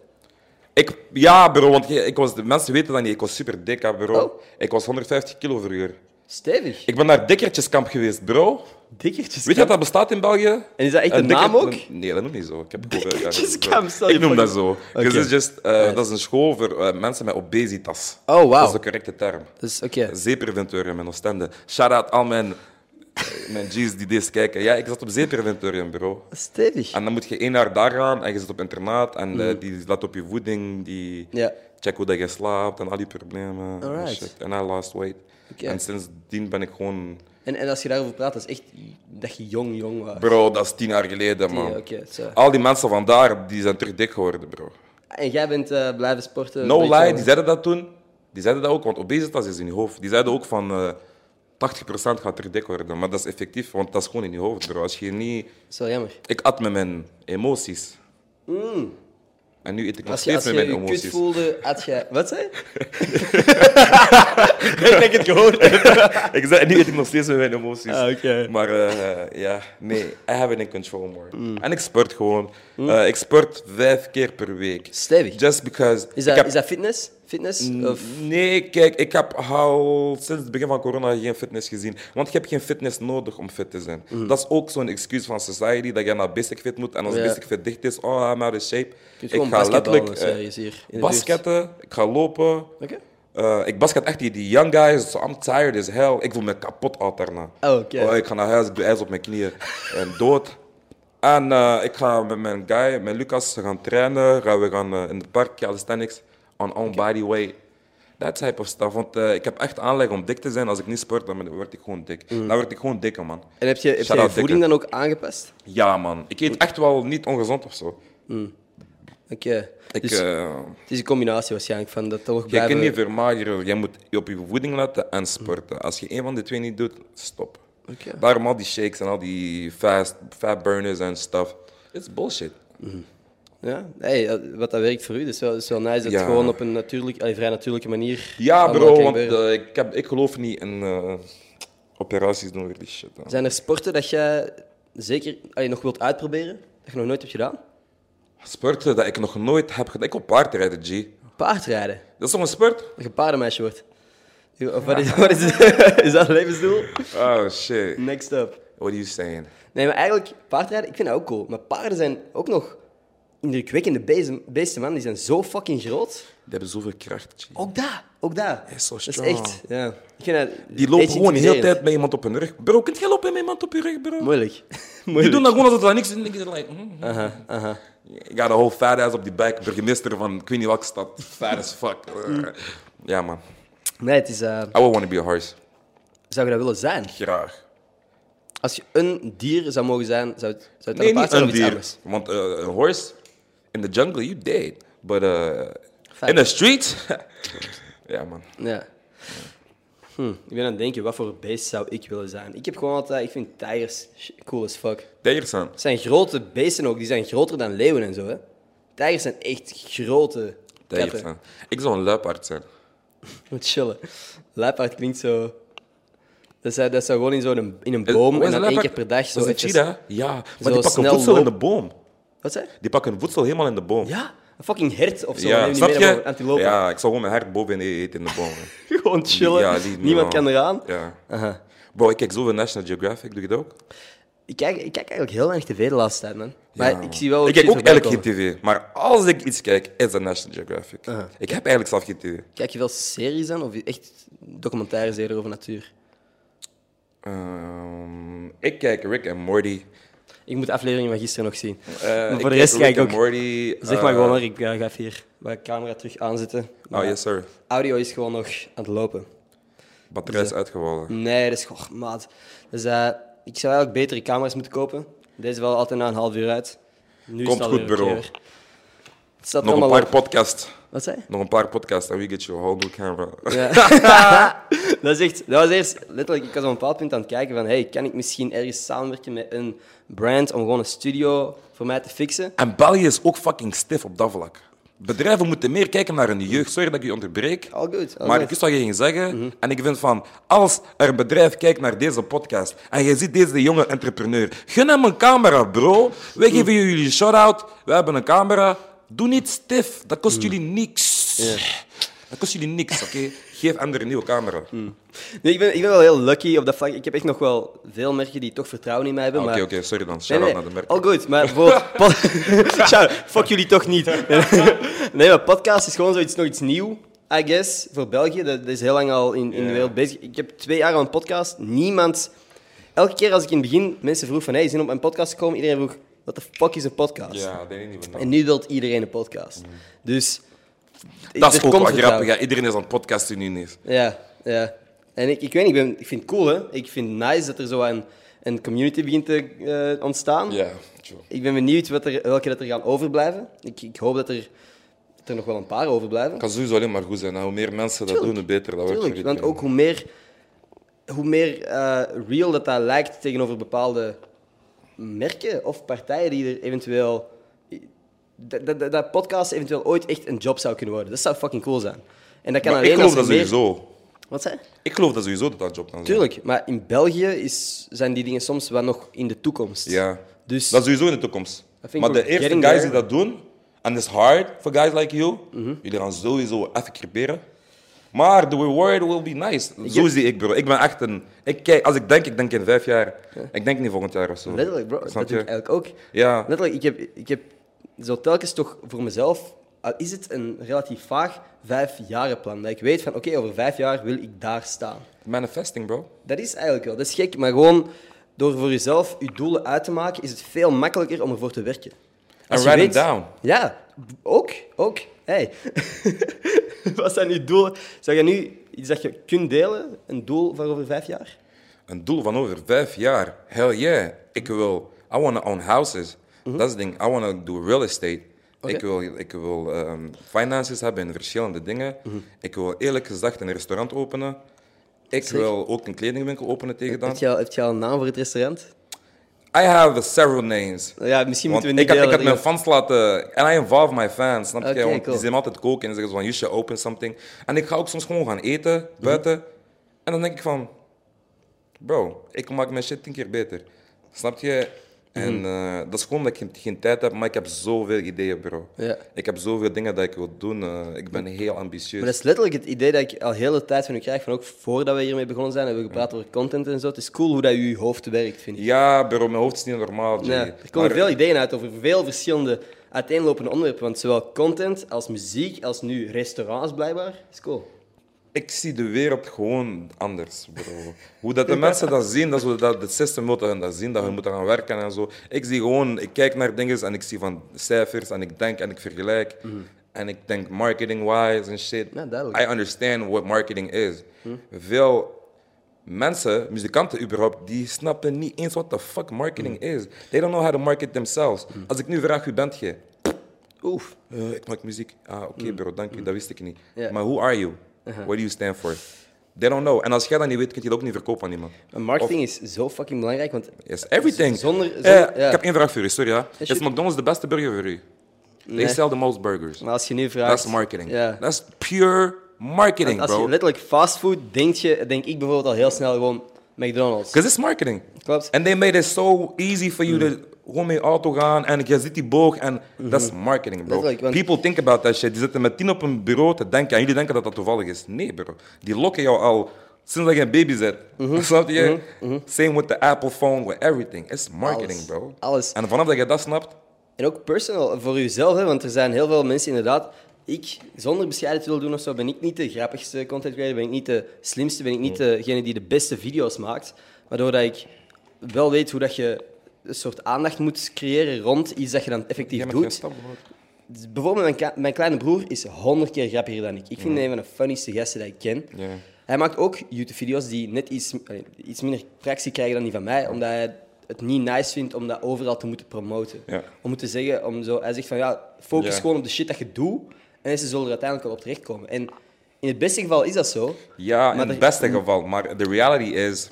Ik, ja, bro, want je- ik was, de mensen weten dat niet. Ik was super dik, hè, bro.
Oh.
Ik was 150 kilo vroeger.
Stevig.
Ik ben naar dikkertjeskamp geweest, bro.
Dikkertjes.
Weet je dat dat bestaat in België?
En is dat echt
Een
een
dikker-
naam ook?
Nee, dat noem ik niet zo. Ik, heb het over-
Dikkertjeskamp, stel je
ik noem
voor.
dat zo.
Oké.
Dus het is just, eh, Dat is een school voor eh, mensen met obesitas.
Oh, wauw.
Dat is de correcte term.
Dus, oké.
Zeeperventorium in Oostende. Shout-out al mijn, eh, mijn G's die deze kijken. Ja, ik zat op Zeeperventorium, bro.
Stevig.
En dan moet je één jaar daar gaan en je zit op internaat en eh, die let op je voeding, die
Mm. Ja.
check hoe dat je slaapt en al die problemen. en
Alright.
shit. En I lost weight.
Oké.
En sindsdien ben ik gewoon...
En, en als je daarover praat, dat is echt dat je jong, jong was.
Bro, dat is tien jaar geleden, man.
Ja, oké, zo.
Al die mensen van daar, die zijn terug dik geworden, bro.
En jij bent eh, blijven sporten?
No
een beetje
lie,
om-
die zeiden dat toen. Die zeiden dat ook, want obesitas is in je hoofd. Die zeiden ook van eh 80% gaat terug dik worden. Maar dat is effectief, want dat is gewoon in je hoofd, bro. Als je niet...
Dat is wel jammer.
Ik at met mijn emoties. En nu eet ik nog
Mm. Als je als
steeds
je,
met mijn
je kut
emoties.
voelde, had je... Wat zei je? Ik denk dat ik het gehoord heb.
Ik zei, nu eet ik nog steeds met mijn emoties.
Ah, oké. Mm.
Maar eh, ja, nee, I have it in control more. En ik sport gewoon. Eh, ik sport vijf keer per week.
Stevig.
Just because.
Is
ik
dat,
heb-
is dat fitness? Fitness? Of,
Nee, kijk, ik heb al sinds het begin van corona geen fitness gezien. Want je hebt geen fitness nodig om fit te zijn. Dat is ook zo'n excuus van society dat je naar basic fit moet. En als
Mm. Ja.
basic fit dicht is, oh, I'm out of shape.
kunt
Ik
gewoon
ga
basketballen,
letterlijk
zei
eh,
je eens hier in de
basketten, ik ga lopen.
Oké.
Eh, ik basket echt die, die young guys, so I'm tired as hell. Ik voel me kapot al daarna.
Oh, oké.
Oh, ik ga naar huis, ik doe ijs op mijn knieën. En dood. En eh, ik ga met mijn guy, met Lucas, we gaan trainen. Gaan we gaan eh, in het park, calisthenics, on on body weight. Dat type of stuff. Want eh, ik heb echt aanleg om dik te zijn. Als ik niet sport, dan ben- word ik gewoon dik. Dan word ik gewoon dikker, man.
Mm. En heb je heb je,
Shout
je
out
voeding dan ook aangepast?
Ja, man. Ik eet echt wel niet ongezond of zo.
Oké.
Ik,
Dus
eh,
het is een combinatie waarschijnlijk van dat toch
jij
blijven...
kunt niet vermageren. Jij moet op je voeding letten en sporten. Als je een van de twee niet doet, stop.
Oké.
Daarom al die shakes en al die fast, fat burners en stuff. It's bullshit.
Ja, hey, dat- wat dat werkt voor u, dat is wel, dat is wel nice. Dat
Ja.
het gewoon op een natuurlijk, allee, vrij natuurlijke manier.
Ja,
allemaal
bro,
kan
want
gebeuren.
eh, ik, heb, ik geloof niet in eh, operaties doen weer die shit. hè.
Zijn er sporten dat jij zeker allee, nog wilt uitproberen, dat je nog nooit hebt gedaan?
Sporten dat ik nog nooit heb gedaan. Ik wil paardrijden, G.
Paardrijden.
Dat is toch een sport?
Dat je paardenmeisje wordt. Of wat is, wat is, is dat een levensdoel?
Oh shit.
Next up.
What are you saying?
Nee, maar eigenlijk, paardrijden, ik vind dat ook cool. Maar paarden zijn ook nog indrukwekkende beesten, beesten, man. Die zijn zo fucking groot.
Die hebben zoveel kracht, G.
Ook daar, ook daar.
is zo
dat is
strong.
echt, ja. Ik vind dat beetje
Die lopen gewoon de hele
intimiderend.
tijd bij iemand op hun rug. Bro, kunt jij lopen met iemand op je rug, bro?
Moeilijk.
Die
Moeilijk.
doen dat gewoon alsof dat niks is. Niks is like, mm. You got a whole fat ass op die back. Burgemeester van ik weet niet welke stad. Fat as fuck. Ja, man.
Nee, het is... eh,
I would want to be a horse.
zou je dat willen zijn?
Graag.
Als je een dier zou mogen zijn, zou het, zou het dan
Nee,
een paard
niet
zijn
een
of iets
dier.
anders?
Want eh, een horse in the jungle, you dead. But uh,
Fijn.
in the street, ja man.
Ja. Hm, ik ben aan het denken, wat voor beest zou ik willen zijn? Ik heb gewoon altijd... Ik vind tijgers sh- cool as fuck.
Tijgers zijn.
Het zijn grote beesten ook. Die zijn groter dan leeuwen en zo, hè. Tijgers zijn echt grote
Tijgers
katten.
zijn. Ik zou een luipaard zijn.
Moet chillen. Luipaard klinkt zo... Dat zou, dat zou gewoon in zo'n in een boom
Hoe
en
is een
dan één keer
luipaard?
per dag zo
Dat is een
even-
cheetah. hè? Ja, maar die pakken
snel
voedsel in de
lopen.
boom.
Wat zei je?
Die pakken voedsel helemaal in de boom.
Ja, een fucking hert of zo.
Ja,
neem die
snap
mee naar boven,
je?
Antilopen.
Ja, ik zou gewoon mijn hart boven eten in de boom. hè.
Gewoon chillen.
Ja, die-
Niemand
ja.
kan eraan.
Ja.
Aha.
Bro, ik kijk zoveel National Geographic, doe je dat ook?
Ik kijk, ik kijk eigenlijk heel weinig tv de laatste tijd, man. Maar
Ja,
Ah, ik
man.
zie wel...
Ik kijk
shit
ook
voorbij
eigenlijk geen tv, maar als ik iets kijk, is dat National Geographic. Ik heb eigenlijk zelf geen tv.
Kijk je wel series aan of echt documentaires eerder over natuur?
Ehm, ik kijk Rick en Morty.
Ik moet de afleveringen van gisteren nog zien.
Eh,
maar voor de rest
Rick
kijk ik ook...
and Morty.
Zeg maar gewoon, hoor, ik eh, ga even hier mijn camera terug aanzetten.
eh,
Maar
oh, yes, sir.
Audio is gewoon nog aan het lopen.
Batterij is uitgevallen.
Nee, Mm, dat is gewoon maat. Dus eh, ik zou eigenlijk betere camera's moeten kopen. Deze wel altijd na een half uur uit. Nu
Komt
is het
goed,
alweer een
bro.
keer. Het staat
Nog een
allemaal
paar
op.
podcasts.
Wat zei je?
Nog een paar podcasts en we get you a whole new camera.
Ja. dat, is echt, dat was eerst letterlijk, ik was op een bepaald punt aan het kijken van hey, kan ik misschien ergens samenwerken met een brand om gewoon een studio voor mij te fixen?
En België is ook fucking stiff op dat vlak. Bedrijven moeten meer kijken naar hun jeugd. Sorry dat ik je onderbreek.
All good, all
maar
good.
ik wist wat je ging zeggen.
Mhm.
En ik vind van, als er een bedrijf kijkt naar deze podcast en je ziet deze jonge entrepreneur, gun hem een camera, bro. Wij
Mhm.
geven jullie een shout-out. We hebben een camera. Doe niet stif. Dat
Mhm.
kost jullie niks. Dat kost jullie niks, oké? Geef anderen een nieuwe camera.
Mhm. Nee, ik, ben, ik ben wel heel lucky op dat vlak. Ik heb echt nog wel veel merken die toch vertrouwen in mij hebben.
Ah, Oké,
maar...
oké, sorry dan.
Nee,
Shout-out
nee,
naar de merken.
all good, maar bijvoorbeeld... pod- Shout, fuck jullie toch niet. nee, maar podcast is gewoon zoiets, nog iets nieuw, I guess, voor België. Dat, dat is heel lang al in, in de
Ja.
wereld bezig. Ik heb twee jaar al een podcast. Niemand... Elke keer als ik in het begin mensen vroeg van, hey, zin om op een podcast te komen? Iedereen vroeg, what the fuck is een podcast?
Ja, dat weet ik niet.
En nu wil iedereen een podcast. Dus...
Dat is
er
ook
komt
wel
vertrouwen.
grappig. ja. Iedereen is aan het podcasten nu ineens.
Ja, ja. En ik, ik weet niet, ik, ben, ik vind het cool, hè. Ik vind het nice dat er zo een, een community begint te eh, ontstaan.
Ja, true.
Ik ben benieuwd wat er, welke dat er gaan overblijven. Ik, ik hoop dat er, dat er nog wel een paar overblijven.
kan sowieso alleen maar goed zijn. hè. Nou, Hoe meer mensen dat doen, hoe beter. Dat wordt
Tuurlijk,
voor
want
iedereen.
ook hoe meer, hoe meer eh, real dat dat lijkt tegenover bepaalde merken of partijen die er eventueel... Dat, dat, dat- dat podcast eventueel ooit echt een job zou kunnen worden. Dat zou fucking cool zijn. En dat kan
Maar
alleen
ik geloof dat
als er meer-
sowieso.
Wat zei je?
Ik geloof dat sowieso dat dat job dan zijn.
Tuurlijk, maar in België is, zijn die dingen soms wel nog in de toekomst.
Ja.
Dus
Dat is sowieso in de toekomst.
vind ik
Maar de
we're
eerste
getting
guys die
there. Mhm.
dat doen, en dat is hard voor guys like you, jullie gaan sowieso even creperen. Maar de reward will be nice. Zo zie ik, bro. Ik ben echt een... Ik kijk, als ik denk, ik denk in vijf jaar. Ik denk niet volgend jaar of zo.
Letterlijk, bro. Dat
Snap
doe ik
je?
eigenlijk ook.
Ja.
Letterlijk, ik heb, ik heb zo telkens toch voor mezelf, al is het een relatief vaag vijfjarenplan, dat ik weet van oké, over vijf jaar wil ik daar staan.
Manifesting, bro.
Dat is eigenlijk wel, dat is gek, maar gewoon door voor jezelf je doelen uit te maken, is het veel makkelijker om ervoor te werken.
And
je
write it down.
Ja, b- ook, ook. Hey. Wat zijn je doelen? Zou je nu iets dat je kunt delen, een doel van over vijf jaar?
Een doel van over vijf jaar. Hell yeah. Ik wil... I want to own houses. Dat is het ding. I want to do real estate.
Oké.
Ik wil, ik wil ehm, finances hebben in verschillende dingen. Ik wil eerlijk gezegd een restaurant openen. Ik
Zeg.
wil ook een kledingwinkel openen tegen dan.
Heb je, al, heb je al een naam voor het restaurant?
I have several names.
Ja, misschien
Want
moeten we
ik
niet
had, ik
delen,
had mijn fans laten... And I involve my fans, snap
Oké,
je? Want
cool.
die zijn altijd koken en zeggen zo van... You should open something. En ik ga ook soms gewoon gaan eten, buiten. En dan denk ik van... Bro, ik maak mijn shit tien keer beter. Snap je? En
Mhm.
eh, dat is gewoon dat ik geen, geen tijd heb, maar ik heb zoveel ideeën, bro.
Ja.
Ik heb zoveel dingen dat ik wil doen. eh, ik ben heel ambitieus.
Maar dat is letterlijk het idee dat ik al heel de tijd van u krijg, van ook voordat we hiermee begonnen zijn, hebben we gepraat over content en zo. Het is cool hoe dat je hoofd werkt, vind ik.
Ja, bro, mijn hoofd is niet normaal, Jay.
Ja, er komen
Maar-
veel ideeën uit over veel verschillende uiteenlopende onderwerpen, want zowel content als muziek als nu restaurants blijkbaar is cool.
Ik zie de wereld gewoon anders, bro. Hoe dat de mensen dat zien, dat is hoe dat het systeem wil dat hun dat zien, dat hun moeten gaan werken en zo. Ik zie gewoon, ik kijk naar dingen en ik zie van cijfers en ik denk en ik vergelijk. En ik denk marketing-wise en shit.
Mhm. Ja, duidelijk. Mhm.
I understand what marketing is. Veel mensen, muzikanten überhaupt, die snappen niet eens wat de fuck marketing
Mhm.
is. They don't know how to market themselves. Als ik nu vraag, wie bent je?
Oef.
Eh, ik maak muziek. Ah, oké bro, dank u. Dat wist ik niet.
Mm. Ja. Uh-huh.
Maar who are you? What do you stand for? They don't know. En als jij dat niet weet, kun je dat ook niet verkopen aan iemand.
Maar marketing is zo fucking belangrijk, want
Yes, everything.
Z- zonder-
Eh,
zonder- ja.
Ik heb één vraag voor u, sorry. Ja. Is
shoot.
McDonald's de beste burger voor u?
Nee.
They sell the most burgers.
maar als je nu vraagt...
Dat is marketing.
Ja.
Dat is pure marketing,
Als
bro.
je letterlijk fastfood denkt, je, denk ik bijvoorbeeld al heel snel gewoon McDonald's.
Because it's marketing.
Klopt.
And they made it so easy for
Mm.
you to gewoon mee auto gaan en je ziet die boog en dat is marketing, bro.
Mm-hmm. Letterlijk, want-
People think about that shit. Die zitten met tien op een bureau te denken en jullie denken dat dat toevallig is. Nee, bro. Die lokken jou al sinds dat je een baby bent.
Mm-hmm.
Snap je? Same with the Apple phone, with everything. It's marketing,
Alles.
bro.
Alles.
En vanaf dat je dat snapt,
En ook personal, voor jezelf, hè, want er zijn heel veel mensen inderdaad. Ik, zonder bescheidenheid wil doen of zo, ben ik niet de grappigste content creator, ben ik niet de slimste, ben ik niet degene die de beste video's maakt. Maar doordat ik wel weet hoe dat je een soort aandacht moet creëren rond iets dat je dan effectief
jij bent geen
doet.
stap, bro.
Dus bijvoorbeeld mijn, ka- mijn kleine broer is honderd keer grappiger dan ik. Ik vind hem een van de funnieste gasten die ik ken.
Ja.
Hij maakt ook YouTube-video's die net iets, allee, iets minder tractie krijgen dan die van mij, omdat hij het niet nice vindt om dat overal te moeten promoten.
Ja.
Om moeten zeggen, om zo, hij zegt van ja, focus
Ja.
gewoon op de shit dat je doet en ze zullen er uiteindelijk wel op terechtkomen. En in het beste geval is dat zo.
Ja,
Maar
in
Mm-hmm.
het
er-
beste geval. Maar de reality is,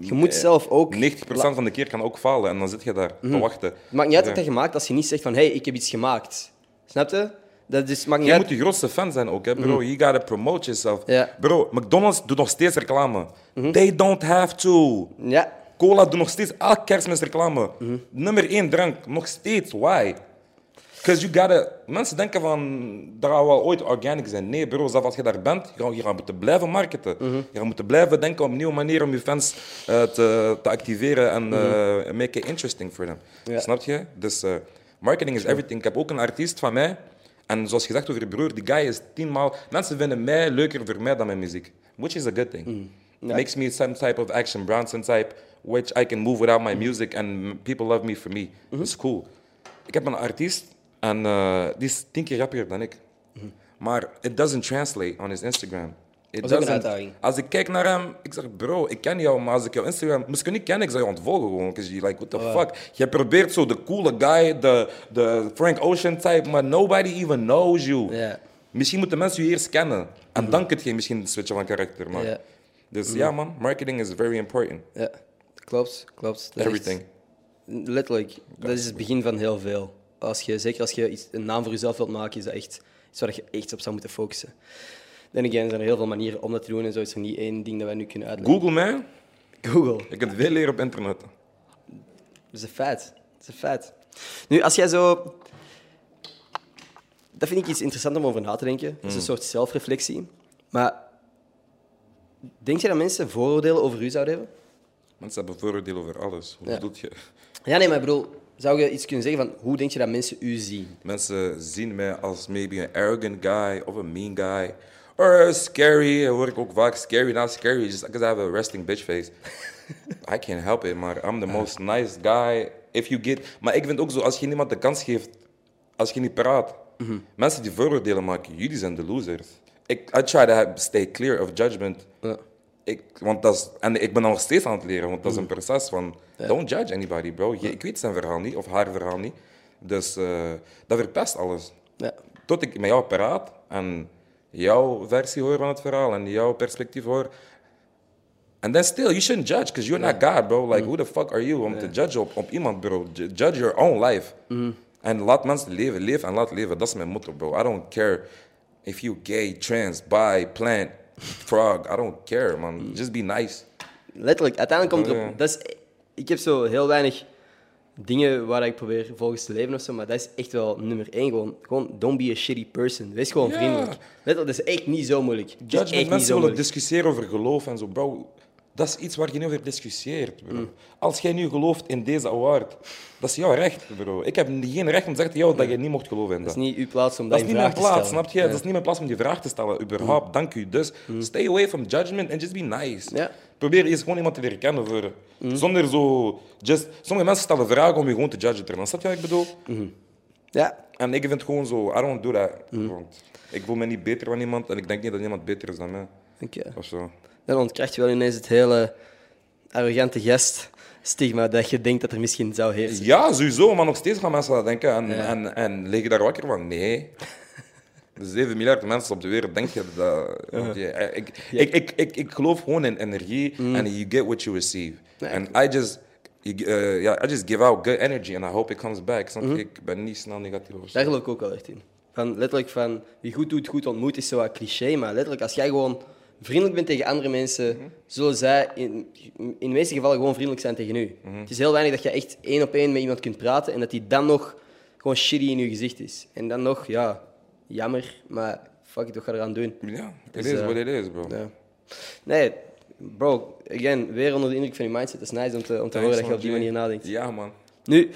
Je moet zelf ook...
90% van de keer kan ook falen en dan zit je daar te wachten.
Het Mm-hmm. maakt niet uit
Ja.
wat je gemaakt als je niet zegt van hé, hey, ik heb iets gemaakt. Snap je? Dat is, maakt niet
Je
uit.
moet de grootste fan zijn ook, hè, bro. You gotta promote yourself.
Ja.
Bro, McDonald's doet nog steeds reclame. They don't have to.
Ja,
Cola doet nog steeds elke kerstmis reclame. Nummer één drank, nog steeds. Why? Because you gotta... Mensen denken van, dat gaat wel ooit organic zijn. Nee, bro, zelfs als je daar bent, je gaat, je gaat moeten blijven marketen. Je gaat moeten blijven denken op nieuwe manieren om je fans eh, te, te activeren en eh, make it interesting for them.
Ja.
Snap je? Dus eh, marketing is everything. Ik heb ook een artiest van mij. En zoals gezegd over je broer, die guy is tienmaal... Mensen vinden mij leuker voor mij dan mijn muziek. Which is a good thing. Makes me some type of action Bronson type, which I can move without my music and people love me for me. It's cool. Ik heb een artiest en eh, die is tien keer rappiger dan ik. Maar it doesn't translate on his Instagram. It
Dat is ook een
doesn't-
uitdaging.
Als ik kijk naar hem, ik zeg bro, ik ken jou, maar als ik jouw Instagram misschien niet ken, ik zou je ontvolgen gewoon. Because you're like, what the
Oh,
fuck? Je probeert zo de coole guy, de, de Frank Ocean type, maar nobody even knows you.
Ja.
Misschien moeten mensen je eerst kennen. En dan kun je misschien switchen van karakter. Maar.
Ja.
Dus ja man, marketing is very important.
ja. klopt, klopt. Dat is echt-
Everything.
Letterlijk, dat is het begin van heel veel. Als je, zeker als je iets, een naam voor jezelf wilt maken, is dat echt iets waar je echt op zou moeten focussen. Dan again, zijn er heel veel manieren om dat te doen en zo is er niet één ding dat wij nu kunnen uitleggen.
Google man,
Google,
ik heb veel leren op internet.
dat is een feit. Dat is een feit. Nu, als jij zo... Dat vind ik iets interessants om over na te denken. Dat is een soort zelfreflectie. Maar denk je dat mensen vooroordelen over u zouden hebben?
Mensen hebben vooroordelen over alles. Hoe
Ja.
bedoel je?
Ja, nee, maar ik bedoel, zou je iets kunnen zeggen van hoe denk je dat mensen u zien?
Mensen zien mij als maybe een arrogant guy of een mean guy. Or scary, hoor ik ook vaak. Scary, not scary, just because I have a resting bitch face. I can't help it, maar I'm the most nice guy. If you get... Maar ik vind ook zo, als je niemand de kans geeft, als je niet praat.
Mhm.
Mensen die vooroordelen maken, jullie zijn de losers. Ik, I try to have- stay clear of judgment.
Ja.
Ik, want dat is, en ik ben nog steeds aan het leren, want dat is een proces van... Don't judge anybody, bro. Je, ik weet zijn verhaal niet, of haar verhaal niet. Dus eh, dat verpest alles.
Ja.
Tot ik met jou praat en jouw versie hoor van het verhaal en jouw perspectief hoor. And then still, you shouldn't judge, because you're not God, bro. Like, who the fuck are you om te judgen op, op iemand, bro? Ju- Judge your own life. En laat mensen leven, leef en laat leven. Dat is mijn motto, bro. I don't care if you gay, trans, bi, plant, frog. I don't care, man. Just be nice.
Letterlijk, uiteindelijk komt het
Ja, Oh, ja.
op. Dat is, ik heb zo heel weinig dingen waar ik probeer volgens te leven of zo, maar dat is echt wel nummer één. Gewoon, gewoon don't be a shitty person. Wees gewoon
Ja.
vriendelijk. Letterlijk, dat is echt niet zo moeilijk. Dat is Dus echt
Judgment,
niet
mensen
zo
willen
moeilijk.
discussiëren over geloof en zo. Bro, dat is iets waar je niet over discussieert,
Mm.
bro. Als jij nu gelooft in deze award, dat is jouw recht, bro. Ik heb geen recht om te zeggen tegen jou dat je niet mocht geloven in dat.
Dat is niet uw plaats om dat,
Dat is
in
niet
vraag
mijn
te
plaats,
stellen. Mm.
snap je? Dat is niet mijn plaats om die vraag te stellen, überhaupt. Dank u. Dus stay away from judgment and just be nice.
Ja. Mm.
Probeer eerst gewoon iemand te leren kennen. Voor, Zonder zo... Just, sommige mensen stellen vragen om je gewoon te judgen. te gaan. Snap je wat ik bedoel?
Mm. Ja,
En ik vind gewoon zo... I don't do that.
Mm.
Want ik voel me niet beter dan iemand en ik denk niet dat iemand beter is dan mij.
oké.
Of zo.
eh, Dan ontkracht je wel ineens het hele arrogante gest stigma dat je denkt dat er misschien zou heersen.
Ja, sowieso, maar nog steeds gaan mensen dat denken. En, en, en lig je daar wakker van? Nee. 7 miljard mensen op de wereld, denk je dat... want je- eh, ik, ik, ik, ik, ik geloof gewoon in energie
Mm.
en you get what you receive. En I just... you g- eh, ja, I just give out good energy and I hope it comes back. Snap je?
Mhm.
Ik ben niet snel negatief of zo.
Daar geloof ik ook wel echt in. Van, letterlijk van, wie goed doet, goed ontmoet, is zo wat cliché. Maar letterlijk, als jij gewoon vriendelijk bent tegen andere mensen, zullen zij in, in de meeste gevallen gewoon vriendelijk zijn tegen u. Het is heel weinig dat je echt één op één met iemand kunt praten en dat die dan nog gewoon shitty in je gezicht is. En dan nog, ja, jammer, maar fuck it, wat ga je eraan doen?
Ja, it
Dus,
is
eh,
what it is, bro.
Ja. Nee, bro, again, weer onder de indruk van je mindset. Dat is nice om te, om te horen dat je op die manier nadenkt.
Ja, man.
Nu,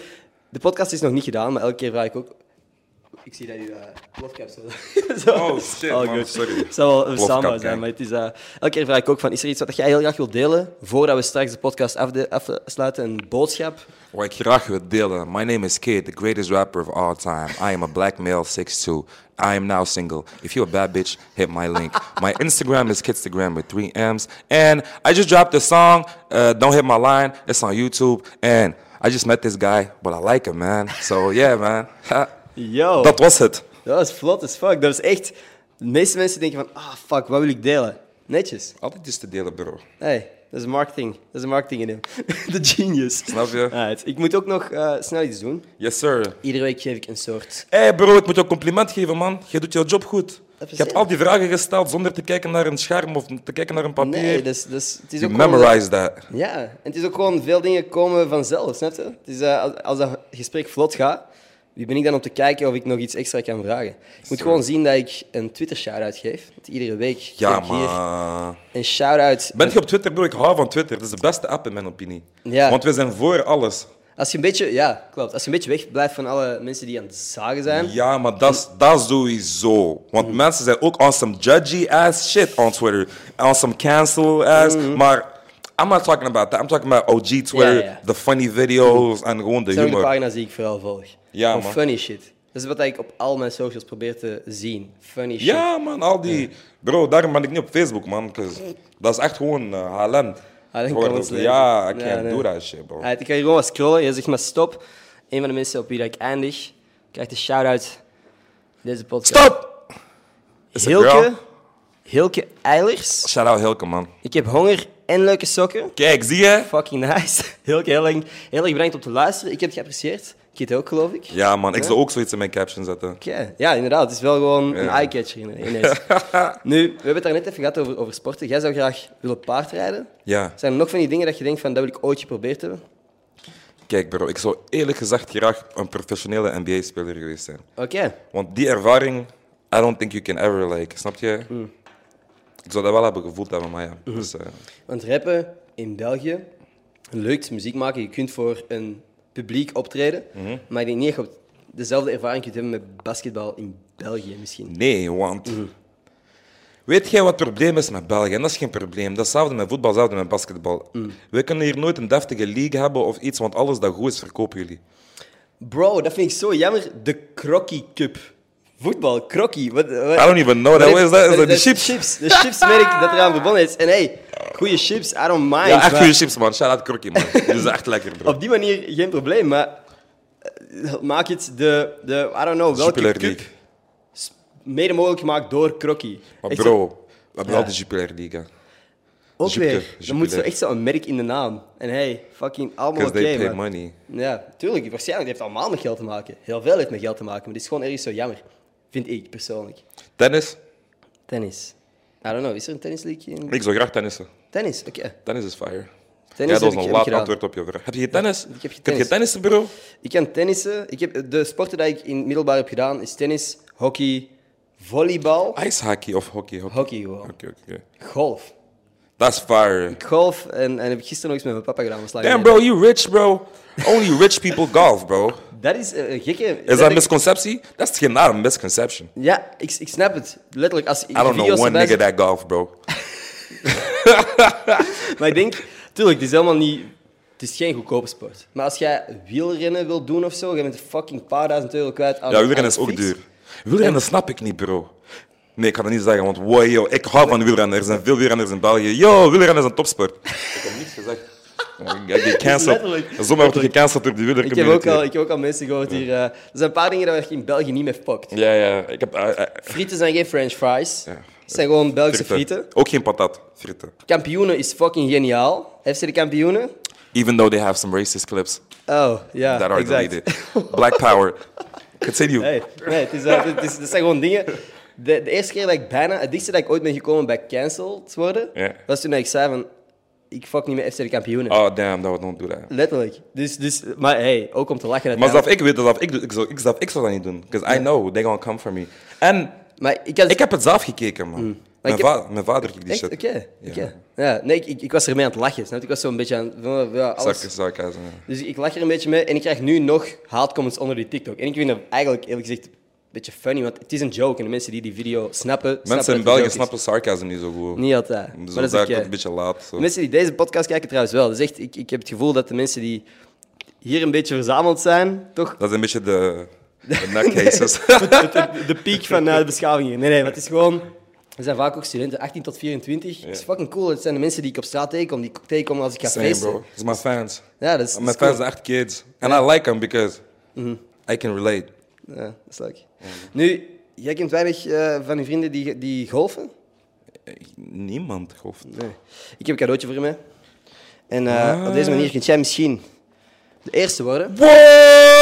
de podcast is nog niet gedaan, maar elke keer vraag ik ook. Ik zie dat u eh plofcaps hebt. Zo.
Oh, shit,
All
man,
good.
sorry.
Het zou wel een
Plofkap,
samba zijn,
kijk.
maar het is, eh, elke keer vraag ik ook van, is er iets wat jij heel graag wilt delen, voordat we straks de podcast afde- afsluiten, een boodschap?
Wat ik graag wil delen. My name is Kid, the greatest rapper of all time. I am a black male 6'2". I am now single. If you're a bad bitch, hit my link. My Instagram is Kidstagram with three M's. And I just dropped a song, uh, Don't Hit My Line. It's on YouTube. And I just met this guy, but I like him, man. So yeah, man. Ha.
Yo,
Dat was het.
dat was vlot as fuck. Dat is echt... De meeste mensen denken van, ah fuck, wat wil ik delen? Netjes.
Altijd is te delen, bro.
Hey, dat is marketing. Dat is een marketing in hem. De genius.
Snap je?
Alright, ik moet ook nog eh, snel iets doen.
Yes, sir.
Iedere week geef ik een soort...
hey bro, ik moet jou compliment geven, man. Je doet jouw job goed. Je hebt
Appreciate
al die vragen gesteld zonder te kijken naar een scherm of te kijken naar een papier.
Nee, dus, dus, het is
you
ook gewoon-
memorize that.
Ja, en het is ook gewoon veel dingen komen vanzelf, snap je? Het is, eh, als, als dat gesprek vlot gaat, wie ben ik dan om te kijken of ik nog iets extra kan vragen? Ik moet gewoon zien dat ik een Twitter shout-out geef. Want iedere week
Ja,
geef ik hier
maar...
een shout-out.
Ben je op Twitter, bro? Ik hou van Twitter. Dat is de beste app in mijn opinie.
Ja.
Want we zijn voor alles.
Als je een beetje, ja, klopt. Als je een beetje weg blijft van alle mensen die aan het zagen zijn.
Ja, maar dat is- dat is sowieso. Want
Mhm.
mensen zijn ook on some judgy ass shit on Twitter. On some cancel ass. Maar I'm not talking about that. I'm talking about OG Twitter,
Mhm. ja.
the funny videos en gewoon de
Dat zijn ook de
humor.
pagina's die ik vooral volg.
Ja,
Gewoon
man.
funny shit. Dat is wat ik op al mijn socials probeer te zien. Funny shit.
Ja, man, al die. Bro, daarom ben ik niet op Facebook, man. 'cause Dat is echt gewoon uh, HLM.
Ah, dan
Gewoon,
kan het leven.
Ja, I
Ja,
can't
nee.
do that shit, bro.
Alright, ik ga hier gewoon wat scrollen. Je zegt maar stop. Een van de mensen op wie dat ik eindig krijgt een shout-out. Deze podcast.
Stop! Is het
Hilke,
girl?
Hilke Eilers.
Shout out Hilke, man.
Ik heb honger en leuke sokken.
Kijk, zie je?
Fucking nice. Hilke, heel, lang, heel erg bedankt om te luisteren. Ik heb het geapprecieerd. Kit ook, geloof ik.
Ja, man, ik zou ook zoiets in mijn caption zetten.
Oké. Ja, inderdaad. Het is wel gewoon een eyecatcher in- ineens. nu, we hebben het daar net even gehad over, over sporten. Jij zou graag willen paardrijden.
Ja.
Zijn er nog van die dingen dat je denkt van, dat wil ik ooit geprobeerd hebben?
Kijk bro, ik zou eerlijk gezegd graag een professionele NBA-speler geweest zijn.
Oké.
Want die ervaring, I don't think you can ever like. Snap je? Ik zou dat wel hebben gevoeld hebben, maar ja. Dus, eh,
Want rappen in België, lukt muziek maken, je kunt voor een publiek optreden,
Mhm.
maar ik denk niet dat je op dezelfde ervaring kunt hebben met basketbal in België misschien.
Nee, want. Weet jij wat het probleem is met België? En dat is geen probleem. Dat is hetzelfde met voetbal, hetzelfde met basketbal. We kunnen hier nooit een deftige league hebben of iets, want alles dat goed is, verkopen jullie.
Bro, dat vind ik zo jammer. De Crocky Cup. Voetbal, Crocky. Wat, wat,
I don't even know
wat
that. What is that? Is dat die
is
chips?
chips. De chipsmerk dat eraan verbonden is. En hey, goede chips, I don't mind.
Ja, echt
maar
goede chips, man. Shout out Krokkie, man. Die is echt lekker, bro.
Op die manier geen probleem, maar eh, maak het de, de I don't know, welke
Jupiler
cup
League.
mede mogelijk gemaakt door Crocky.
Maar
Echt
bro, we hebben
Ja.
wel de Jupiler League. hè.
Ook
Jupiter,
weer.
Jupiter.
Dan moet zo echt zo'n merk in de naam. En hey, fucking allemaal
Because
oké,
they pay
man.
money.
Ja, tuurlijk. Waarschijnlijk heeft het allemaal met geld te maken. Heel veel heeft met geld te maken, maar dit is gewoon ergens zo jammer. Vind ik persoonlijk.
Tennis?
Tennis. I don't know, is er een tennisleague in?
Ik zou graag tennissen.
Tennis, oké.
Tennis is fire.
Tennis heb
ja, dat was
ik-
een
heb ik
laat
gedaan.
antwoord op je vraag. Heb je geen tennis?
ik heb geen
Kun je
tennis.
tennissen, bro?
Ik kan tennissen. Ik heb, de sporten die ik in het middelbaar heb gedaan is tennis, hockey, volleybal.
Ice hockey of hockey? Hockey,
Hockey gewoon.
oké. oké.
Golf.
That's fire.
Golf en, en heb ik gisteren nog eens met mijn papa gedaan. we slagen
Damn,
neer.
bro, you rich, bro. Only rich people golf, bro.
Dat is eh, een gekke...
Is dat
dat
een misconceptie? Dat is geen nare misconception.
Ja, ik, ik snap het. Letterlijk, als ik
I don't know
video's
one
erbij
nigga that golf, bro.
Maar ik denk, tuurlijk, het is helemaal niet. Het is geen goedkope sport. Maar als jij wielrennen wilt doen of zo, je bent fucking paar duizend euro kwijt aan
Ja, wielrennen
aan
is ook
fiets.
duur. Wielrennen snap ik niet, bro. Nee, ik kan dat niet zeggen, want wow, yo, ik hou van wielrennen. Er zijn veel wielrenners in België. Yo, wielrennen is een topsport. Ik heb niets gezegd. Ik heb gecanceld.
Letterlijk.
Zomaar word ik gecanceld door de
Ik heb, ook
wielercommunity.
al, ik heb ook al mensen gehoord hier. eh, er zijn een paar dingen dat je in België niet meer pakt.
Ja, ja. Ik heb... eh, eh,
Frieten zijn geen french fries.
Ja.
Het zijn gewoon Belgische
frieten.
frieten.
Ook geen patat. Frieten.
Kampioenen is fucking geniaal. FC de kampioenen?
Even though they have some racist clips
Oh, ja,
that are
exact.
deleted. Black power. Continue.
Hey, nee, het is, eh, het is, dat zijn gewoon dingen. De, de eerste keer dat ik bijna, het dichtste dat ik ooit ben gekomen bij cancelled worden,
Ja.
was toen ik zei van, ik fuck niet met FC de kampioenen.
Oh, damn, dat we don't do that.
Letterlijk. Dus, dus, maar hey, ook om te lachen.
Maar
uiteindelijk.
zelf ik weet dat zelf ik doe, ik zou, ik, zelf, ik zou dat niet doen. Because I know they gonna come for me. En
maar ik had...
ik heb het zelf gekeken, man. Mijn,
Hmm. ik heb-
va- mijn vader keek die
Echt?
shit.
Oké.
Ja.
oké. Ja, nee, ik, ik, ik was ermee aan het lachen. Snap je? Ik was zo een beetje aan... van, Ja, alles.
Sarcasm, sarcasm, ja.
Dus ik lach er een beetje mee en ik krijg nu nog haatcomments onder die TikTok. En ik vind dat eigenlijk, eerlijk gezegd, een beetje funny, want het is een joke. En de mensen die die video snappen... snappen
Mensen in
dat het
België
een joke is.
snappen dus sarcasm niet zo goed.
Niet altijd.
Zo
maar dat is
daar
oké.
een beetje laat. Zo.
De mensen die deze podcast kijken trouwens wel. Dus echt, ik, ik heb het gevoel dat de mensen die hier een beetje verzameld zijn, toch
Dat is een beetje de, de nutcases.
Het- het- de piek van eh, de beschaving hier. Nee, nee, maar het is gewoon... Er zijn vaak ook studenten, 18 tot 24. Het is fucking cool. Het zijn de mensen die ik op straat tegenkom, die ik tegenkom als ik ga
Same,
feesten.
bro. It's my fans.
Ja, dat is, dat
My
is cool. Mhm.
fans are echt kids. And I like them because I can relate.
Ja, dat is leuk. Nu, jij kent weinig eh, van je vrienden die, die golfen?
Niemand gelooft.
Nee. Ik heb een cadeautje voor je mee. En eh, op deze
Ah.
manier kunt jij misschien de eerste worden.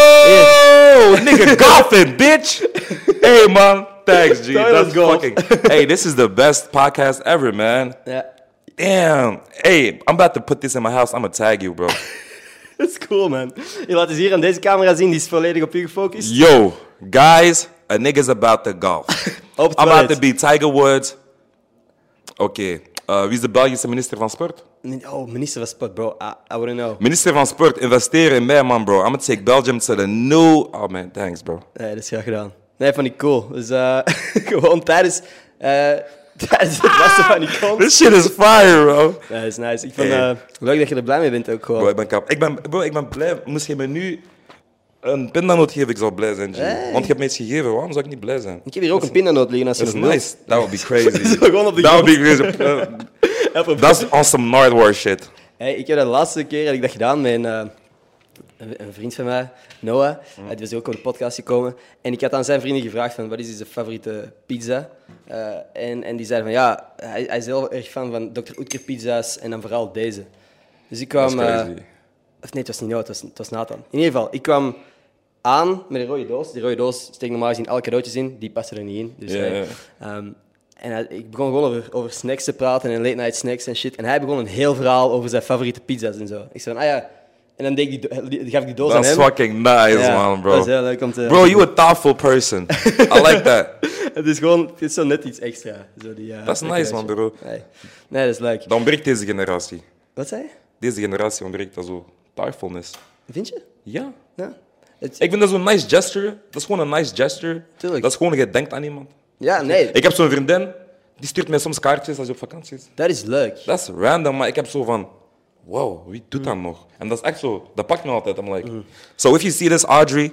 Whoa! Nigga golfing, bitch! Hey man, thanks G.
Sorry,
That's
let's go.
fucking. Hey, this is the best podcast ever, man.
Ja,
Damn. Hey, I'm about to put this in my house. I'm gonna tag you, bro.
dat is cool, man. Je laat eens hier aan deze camera zien, die is volledig op u gefocust.
Yo, guys, a nigga's about to golf.
Op het
I'm
toilet.
about to be Tiger Woods. Oké, eh, wie is de Belgische minister van Sport?
Oh, minister van Sport, bro. I, I wouldn't know.
Minister van Sport, investeren in mij, man, bro. I'm gonna take Belgium to the new. Oh man, thanks, bro.
Nee, dat is graag gedaan. Nee, vond ik cool. Dus eh, gewoon tijdens, eh, tijdens het wassen van die kont.
This shit is fire, bro.
Nee, dat is nice. Ik vond
Ah! Hey.
eh, leuk dat je er blij mee bent ook gewoon.
Bro, ik ben kap. Ik ben, bro, ik ben blij. Moest je me nu een pindanoot geven, ik zou blij zijn, G.
Hey.
Want je hebt me iets gegeven, waarom zou ik niet blij zijn?
Ik heb hier ook een pindanoot liggen als je
Dat is
nog wilt.
nice. That would be crazy.
Zo gewoon op de
That would be crazy. Eh,
Ja, probeer.
That's on some Nard War shit.
Hey, ik heb dat de laatste keer heb ik dat gedaan met een, eh, een- een vriend van mij, Noah.
Mm.
Hij was ook op de podcast gekomen. En ik had aan zijn vrienden gevraagd van, wat is zijn favoriete pizza? Eh, en, en die zeiden van, ja, hij, hij is heel erg fan van Dr. Oetker pizza's en dan vooral deze. Dus ik
That's
kwam... eh,
crazy.
Of nee, het was niet Noah, het was, het was Nathan. In ieder geval, ik kwam aan met een rode doos. Die rode doos steekt normaal gezien alle cadeautjes in. Die passen er niet in. Dus,
Ja,
hey,
ja.
ehm, en hij- ik begon gewoon over, over snacks te praten en late night snacks en shit. En hij begon een heel verhaal over zijn favoriete pizza's en zo. Ik zei van, ah ja, En dan deed ik die, do- die- gaf ik die doos
Dat is
aan hem.
fucking nice,
Ja,
man, bro.
Dat is heel leuk om te...
Bro, you a thoughtful person. I like that.
Het is gewoon, het is zo net iets extra. Zo die, eh,
Dat is nice, man, bro.
Nee, nee dat is leuk.
Dat ontbreekt deze generatie.
Wat zei je?
Deze generatie ontbreekt dat zo. Thoughtfulness.
Vind je?
Ja.
Ja. Het-
Ik vind dat zo'n nice gesture. Dat is gewoon een nice gesture.
Tuurlijk.
Dat is gewoon, je denkt aan iemand.
ja, nee,
Ik heb zo'n vriendin, die stuurt mij soms kaartjes als je op vakantie is.
dat is leuk.
Dat is random, maar ik heb zo van... Wow, wie doet dat nog? En dat is echt zo, dat pakt me altijd. I'm like, so if you see this, Audrey,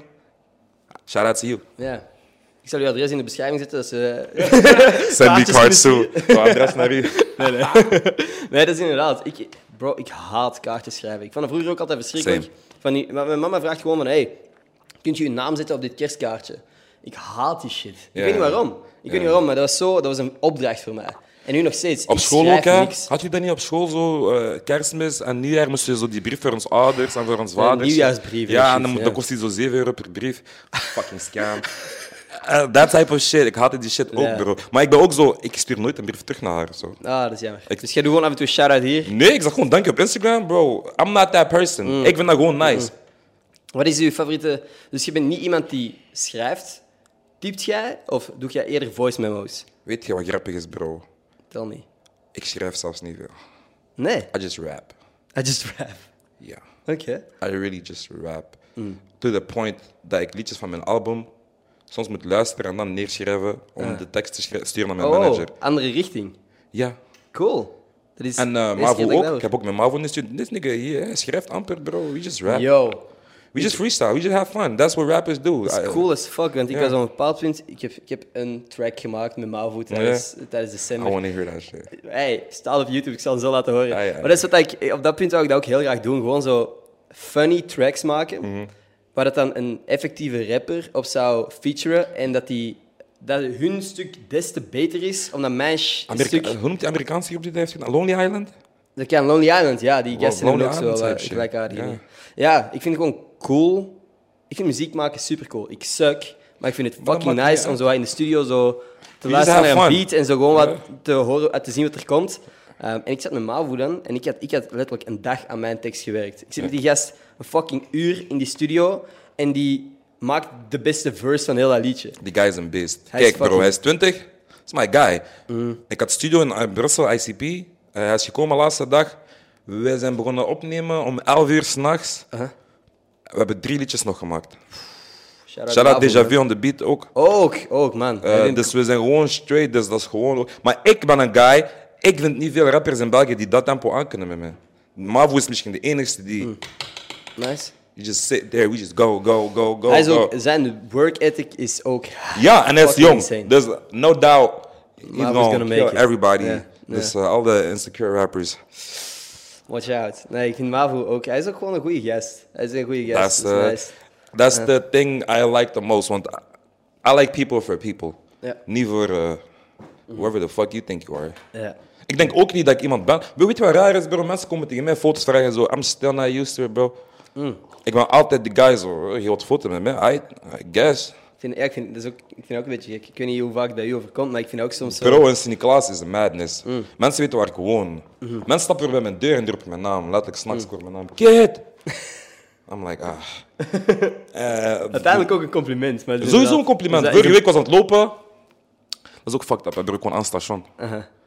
shout out to you.
Ja. Ik zal je adres in de beschrijving zetten. Dat ze...
Send me
Kaartjes
cards too. Zo, adres naar u.
nee, nee. nee, dat is inderdaad. Ik, bro, ik haat kaartjes schrijven. Ik vond het vroeger ook altijd verschrikkelijk.
Same.
Van die, maar mijn mama vraagt gewoon van, hey, kunt je je naam zetten op dit kerstkaartje? Ik haat die shit. Ik
Ja.
weet niet waarom. Ik weet
Ja.
niet waarom, maar dat was, zo, dat was een opdracht voor mij. En nu nog steeds.
Op
ik
school ook,
schrijf
hè?
niks.
Had je dat niet op school zo? eh, kerstmis en nieuwjaar moest je zo die brief voor ons ouders en voor ons vader.
nieuwjaarsbrieven en
Ja, en
shit,
dan, moet-
ja.
dan kost die zo 7 euro per brief. Ah, Fucking scam. Eh, That type of shit. Ik haatte die shit
Ja.
ook, bro. Maar ik ben ook zo, ik stuur nooit een brief terug naar haar. Zo.
Ah, dat is jammer. Dus jij doet gewoon af en toe een shout-out hier.
Nee, ik zag gewoon dank je op Instagram, bro. I'm not that person.
Mm.
Ik vind dat gewoon nice.
Wat is uw favoriete... Dus je bent niet iemand die schrijft. Typt jij of doe jij eerder voice memos?
Weet je wat grappig is, bro?
Tel niet.
Ik schrijf zelfs niet veel.
Nee.
I just rap.
I just rap.
Ja.
Oké.
I really just rap.
Mm.
To the point dat ik liedjes van mijn album soms moet luisteren en dan neerschrijven om de tekst te schrij- sturen naar mijn
Ah. Oh,
manager.
andere richting.
Ja.
Cool. Dat is
En
de
eh
eerste keer
Mavo
dat ik
ook.
dat
Ik heb ook met Mavo in de studio. Dit nigga hier, hij schrijft amper, bro. We just rap.
hoor. Yo.
We just freestyle. We just have fun. That's what rappers do.
Dat
I-
is cool as fuck, want ik
Ah, Ja.
was op een bepaald punt... Ik heb, ik heb een track gemaakt met Mavo tijdens, tijdens
I
december.
want to hear that shit.
Hey, staat op YouTube, ik zal het zo laten horen.
Ah, ja.
Maar dat is wat ik, op dat punt zou ik dat ook heel graag doen. Gewoon zo funny tracks maken,
Mhm.
waar dat dan een effectieve rapper op zou featuren. En dat, die, dat hun stuk des te beter is, omdat mijn sh-
Amerika-
stuk...
Hoe noemt die Amerikaanse groep die dat heeft gedaan? Lonely Island?
Dat kan Lonely Island, ja, die gasten
Lonely
hebben ook zo
Island
eh,
type shit.
gelijkaardig.
Ja.
Ja. ja, ik vind het gewoon cool. Ik vind muziek maken super cool. Ik suck, maar ik vind het
dat
fucking
maakt niet
nice om zo in de studio zo te
You just
luisteren naar
have
een
fun.
beat en zo gewoon wat
Ja.
te horen, eh, te zien wat er komt. Ehm, en ik zat met Mavo dan en ik had, ik had letterlijk een dag aan mijn tekst gewerkt. Ik zit met die gast een fucking uur in die studio en die maakt de beste verse van heel dat liedje.
Die guy is een beest.
Hij is
Kijk, bro,
fucking-
hij is 20. Dat is my guy. Ik had studio in eh, Brussel, ICP. Eh, hij is gekomen laatste dag. Wij zijn begonnen opnemen om 11 uur s'nachts. We hebben drie liedjes nog gemaakt.
Shout-out
Shout out
Mavo,
Deja
man.
Vu on the beat ook.
Ook, ook, man.
Eh,
Hij vindt-
dus we zijn gewoon straight, dus dat is gewoon... ook- Maar ik ben een guy, ik vind niet veel rappers in België die dat tempo aankunnen met mij. Mavo is misschien de enigste die...
Mm. Nice.
You just sit there, we just go, go, go, go,
Hij is ook,
go.
zijn work ethic is ook
Oh, Ja, en hij is
Fucking
jong.
insane.
Dus no doubt, he's
Marvin's
gonna,
gonna make
kill
it.
everybody.
Ja,
Dus eh, al de insecure rappers.
Watch out. Nee, ik vind Mavo ook. Hij is ook gewoon een goede guest. Hij is een goede guest.
That's,
dat is
uh,
nice.
that's the thing I like the most. Want I like people for people.
Ja.
Niet voor eh, whoever the fuck you think you are.
Ja.
Ik denk ook niet dat ik iemand ben. Weet je wat raar is, bro? Mensen komen tegen mij foto's vragen en zo. I'm still not used to it, bro.
Mm.
Ik ben altijd die guy zo. Je wilt foto met mij? I, I guess.
Ik vind, ja, ik, vind, dat is ook, ik vind dat ook een beetje gek. Ik weet niet hoe vaak dat je overkomt, maar ik vind dat ook soms zo...
Bro, in Sint-Niklaas is een madness. Mensen weten waar ik woon. Mensen stappen bij mijn deur en roepen mijn naam. Letterlijk, s'nachts mm. mijn naam. Kid! I'm like, ah. Eh,
Uiteindelijk ook een compliment. Maar
sowieso een compliment.
Dus dat-
Vorige week was ik aan het lopen. Dat is ook fucked up. hè, bro. Ik woon aan het station.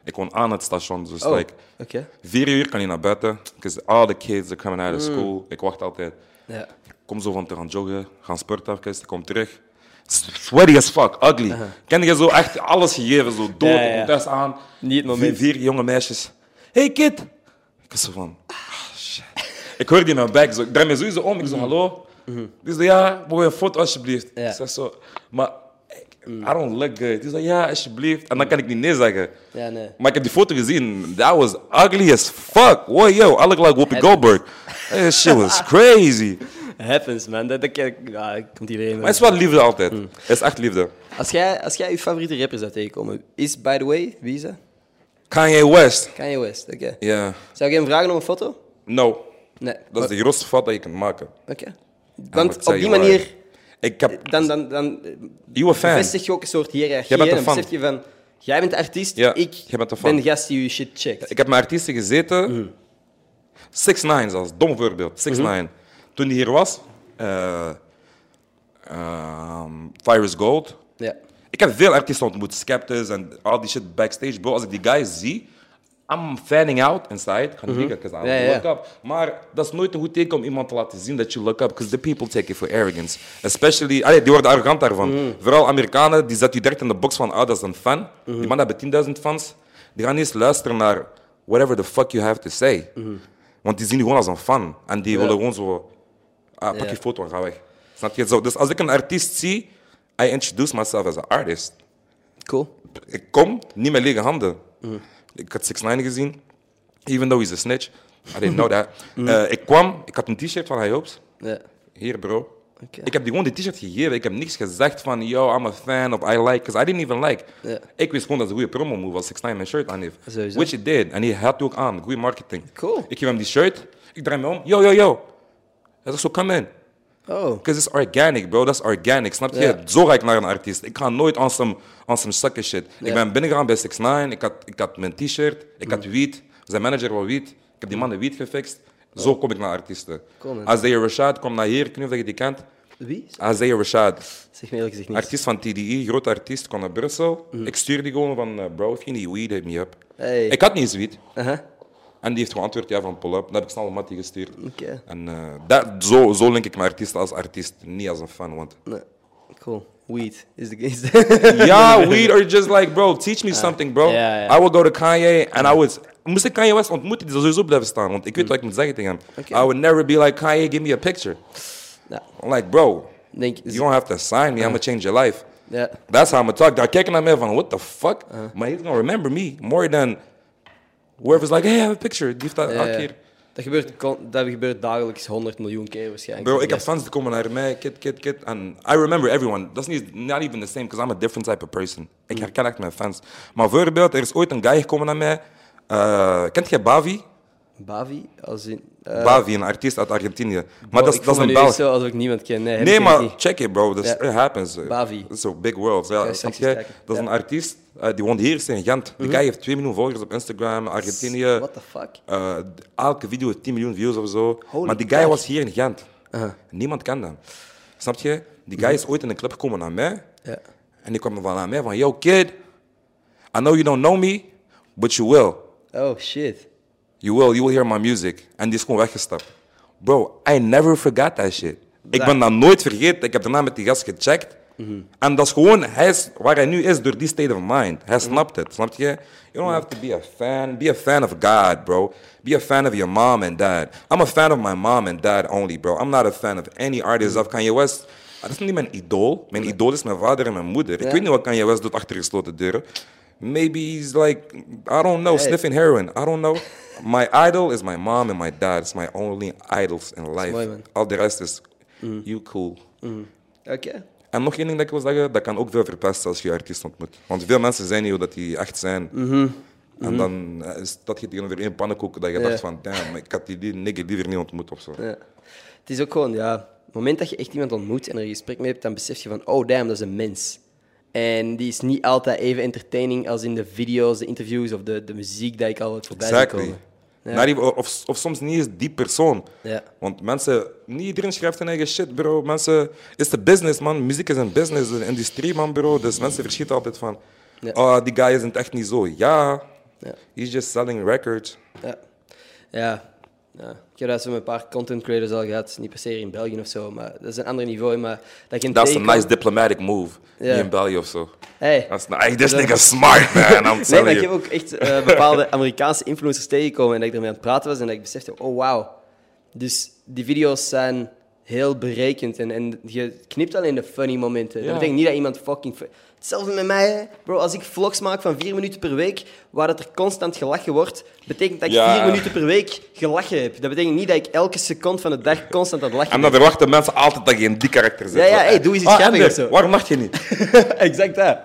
Ik woon aan het station. Dus
Uh-huh. Oh,
like,
oké.
vier uur kan je naar buiten. Because all the kids are coming out of
Mm.
school. Ik wacht altijd.
Ja.
Ik kom zo van te gaan joggen, gaan sporten even, ik kom terug. Sweaty as fuck, ugly. Ken je zo echt alles gegeven, zo dood,
Ja, ja, ja.
ik kom thuis aan.
Niet het moment.
Vier, vier jonge meisjes. Hey kid! Ik was zo van, ah shit. Ik hoorde die in mijn bek, zo. ik draai me sowieso om, ik zo hallo. Die zei ja, mogen we een foto alsjeblieft?
Mhm. Ja.
Ik zeg zo, maar ik- I don't look good. Die zei ja, alsjeblieft. En dan kan ik niet nee zeggen.
Mhm. Ja, nee.
Maar ik heb die foto gezien, that was ugly as fuck. Wow, yo, I look like Whoopi Goldberg. That shit was crazy.
Happens, man. Dat, dat, ja, dat komt iedereen
Maar
mee.
het is wel liefde altijd.
Mm.
Het is echt liefde.
Als jij, als jij je favoriete rapper zou tegenkomen, is, by the way, wie is dat?
Kanye West.
Kanye West, oké.
Ja.
Zou ik hem vragen om een foto?
No.
Nee. Oh,
Dat is de grootste fout dat je kunt maken.
Oké.
Ja, maar
Want
ik
op
zeg
die
je waar.
manier,
Ik heb...
dan, dan, dan eh,
Nieuwe fan.
bevestig je ook een soort hiërarchie.
Jij bent
hè?
de
dan
fan.
besef je van, jij bent de artiest,
Ja,
ik
jij bent de fan.
ben de gast die je shit checkt. Mm. Mhm.
Ik heb met artiesten gezeten. 6 ix 9 zelfs. Dom voorbeeld. 6 ix 9 Toen die hier was, eh ehm, Fire is Gold.
Ja.
Ik heb veel artiesten ontmoet, Skeptics en al die shit backstage. Bro, als ik die guys zie, I'm fanning out inside. Ik ga niet liegen, 'cause I
Mhm. Ja, ja, ja.
look up. Maar dat is nooit een goed teken om iemand te laten zien dat je look up. Because the people take it for arrogance. Especially, allee, die worden arrogant daarvan.
Mhm.
Vooral Amerikanen, die zetten je direct in de box van, ah, dat is een fan.
Mhm.
Die mannen hebben 10.000 fans. Die gaan niet eens luisteren naar whatever the fuck you have to say.
Mhm.
Want die zien je gewoon als een fan. En die willen gewoon zo... Ah, pak
Ja.
je foto en ga weg. Snap je? Zo, dus als ik een artiest zie, I introduce myself as an artist.
Cool.
Ik kom, niet met lege handen.
Mm.
Ik had 6 9 gezien, even though he's a snitch. I didn't know that.
Mm.
Eh, ik kwam, ik had een t-shirt van High Hopes.
Ja.
Hier, bro.
Oké.
Ik heb die gewoon die t-shirt gegeven. Ik heb niks gezegd van, yo, I'm a fan of I like, because I didn't even like.
Ja.
Ik wist gewoon dat het een goede promo move was, 6 9 mijn shirt aan heeft.
Sowieso.
Which it did. En hij had ook aan, goede marketing.
Cool.
Ik geef hem die shirt, ik draai me om, yo, yo, yo. Hij zegt zo, come in.
Oh.
Because it's organic, bro. Dat is organic, snap je?
Ja.
Zo ga ik naar een artiest. Ik ga nooit aan some, aan some sucker shit.
Ja. Mm.
Ik ben binnengegaan bij 6 9 ik had, ik had mijn t-shirt, ik had wiet. Zijn manager wil wiet. Ik heb die mannen wiet gefixt. Zo kom ik naar artiesten.
Cool, man.
Isaiah Rashad, kom naar hier. Ik weet niet of je die kent.
Wie?
Isaiah Rashad,
Zeg me eerlijk gezegd niet.
artiest van TDI, grote artiest, kwam naar Brussel. Ik stuurde die gewoon van, eh, bro, if you need weed, hit me up.
Mm. Hey.
Ik had niet eens wiet.
Aha.
En die heeft geantwoord, ja, van pull-up. Dan heb ik snel een mattie gestuurd.
Oké.
En eh, dat, zo, zo link ik mijn artiest als artiest, niet als een fan, want...
Nee. Cool. Weed is de is de-
Ja, weed or just like, bro, teach me something, bro.
ja, ja.
I would go to Kanye and I would. Moest ik Kanye West ontmoeten, die zou sowieso blijven staan, want ik weet wat ik moet zeggen tegen hem.
Oké.
I would never be like, Kanye, give me a picture.
Ja.
I'm like, bro,
Denk,
you don't have to sign me, I'm gonna change your life.
Ja.
That's how I'm gonna talk. Daar kijken naar mij van, what the fuck? Maar he's gonna remember me more than whoever's like, hey, I have a picture. Die heeft dat elke
Ja, ja.
keer.
Eh, Dat gebeurt, con- dat gebeurt dagelijks 100 miljoen keer waarschijnlijk.
Bro, ik heb fans die komen naar mij, kid, kid, kid. En I remember everyone. Dat is niet not even the same, because I'm a different type of person. Ik
Mm.
herken echt mijn fans. Maar voorbeeld, er is ooit een guy gekomen naar mij. eh, kent jij Bavi?
Bavi, als in... eh,
Bavi, een artiest uit Argentinië. Maar
bro,
dat
ik
is dat
voel
is een
me nu echt
Belg.
zo alsof ik niemand ken. Nee, hem
Nee,
ken ik
maar
niet.
check it, bro. This,
Ja.
It happens. eh.
Bavi.
It's a big world. Ja,
ik
snap
straks
je?
eens kijken.
Dat is
Ja. Mhm.
een artiest, eh, die woont hier in Gent. Die guy heeft 2 miljoen volgers op Instagram, Argentinië.
What the fuck?
Eh, elke video heeft 10 miljoen views of zo.
Holy Uh-huh.
maar die guy
fuck.
was hier in Gent. Niemand kende hem. Snap je? Die guy is ooit in een club gekomen naar mij.
Ja.
En die kwam van naar mij van, yo kid, I know you don't know me, but you will.
Oh, shit.
You will, you will hear my music. En die is gewoon weggestapt. Bro, I never forgot that shit. Ik
Dat-
ben dat nooit vergeten. Ik heb daarna met die gast gecheckt. En dat is gewoon, hij is waar hij nu is door die state of mind. Hij snapt het, snap je? You don't have to be a fan. Be a fan of God, bro. Be a fan of your mom and dad. I'm a fan of my mom and dad only, bro. I'm not a fan of any artist of Kanye West. Ah, Dat is niet mijn idool. Mijn idool is mijn vader en mijn moeder.
Ja.
Ik weet niet wat Kanye West doet achter gesloten deuren. Maybe he's like, I don't know,
Hey.
sniffing heroin. I don't know. My idol is my mom and my dad. It's my only idols in life.
mooi, man. Mm.
Al de rest is you cool.
Oké.
En nog één ding dat ik wil zeggen, dat kan ook veel verpesten als je je artiest ontmoet. Want veel mensen zijn niet hoe dat die echt zijn.
Mhm.
En dan eh, is dat je tegenover één pannenkoek dat je
Ja.
dacht van, damn, ik had die li- nigger liever niet ontmoet of zo.
Ja. Het is ook gewoon, ja, op het moment dat je echt iemand ontmoet en er een gesprek mee hebt, dan besef je van, oh damn, dat is een mens. En die is niet altijd even entertaining als in de video's, de interviews of de, de muziek dat ik al wat voorbij zie
Exactly.
komen. Ja.
Not even- of, of soms niet eens die persoon.
Ja.
Want mensen, niet iedereen schrijft zijn eigen shit, bro. Mensen, is de business, man. Muziek is een business, een industrie, man, bro. Dus mensen verschieten altijd van,
Ja.
oh, die guy is het echt niet zo. Ja,
Ja.
he's just selling records.
Ja. Ja. ja. Ik heb dat zo met een paar content creators al gehad, niet per se hier in België of zo, maar dat is een ander niveau. Maar dat je een
That's a
tegenkomt-
nice diplomatic move.
Ja.
Niet in België of zo.
Hey.
That's not, hey, this nigga smart, man. I'm
Nee, maar
telling
ik heb
you.
ook echt eh, bepaalde Amerikaanse influencers tegengekomen en dat ik ermee aan het praten was en dat ik besefte, oh wauw. Dus die video's zijn heel berekend en, en je knipt alleen de funny momenten.
Ja.
Dat betekent niet dat iemand fucking... fu- Hetzelfde met mij, hè. bro. Als ik vlogs maak van vier minuten per week, waar dat er constant gelachen wordt, betekent dat ik
Ja.
vier minuten per week gelachen heb. Dat betekent niet dat ik elke seconde van de dag constant aan het lachen
En
ben.
dan verwachten mensen altijd dat je in die karakter zit.
Ja, ja, hey, doe eens iets
Ah,
grappigs
Ender,
of zo.
Waarom mag je niet?
exact dat.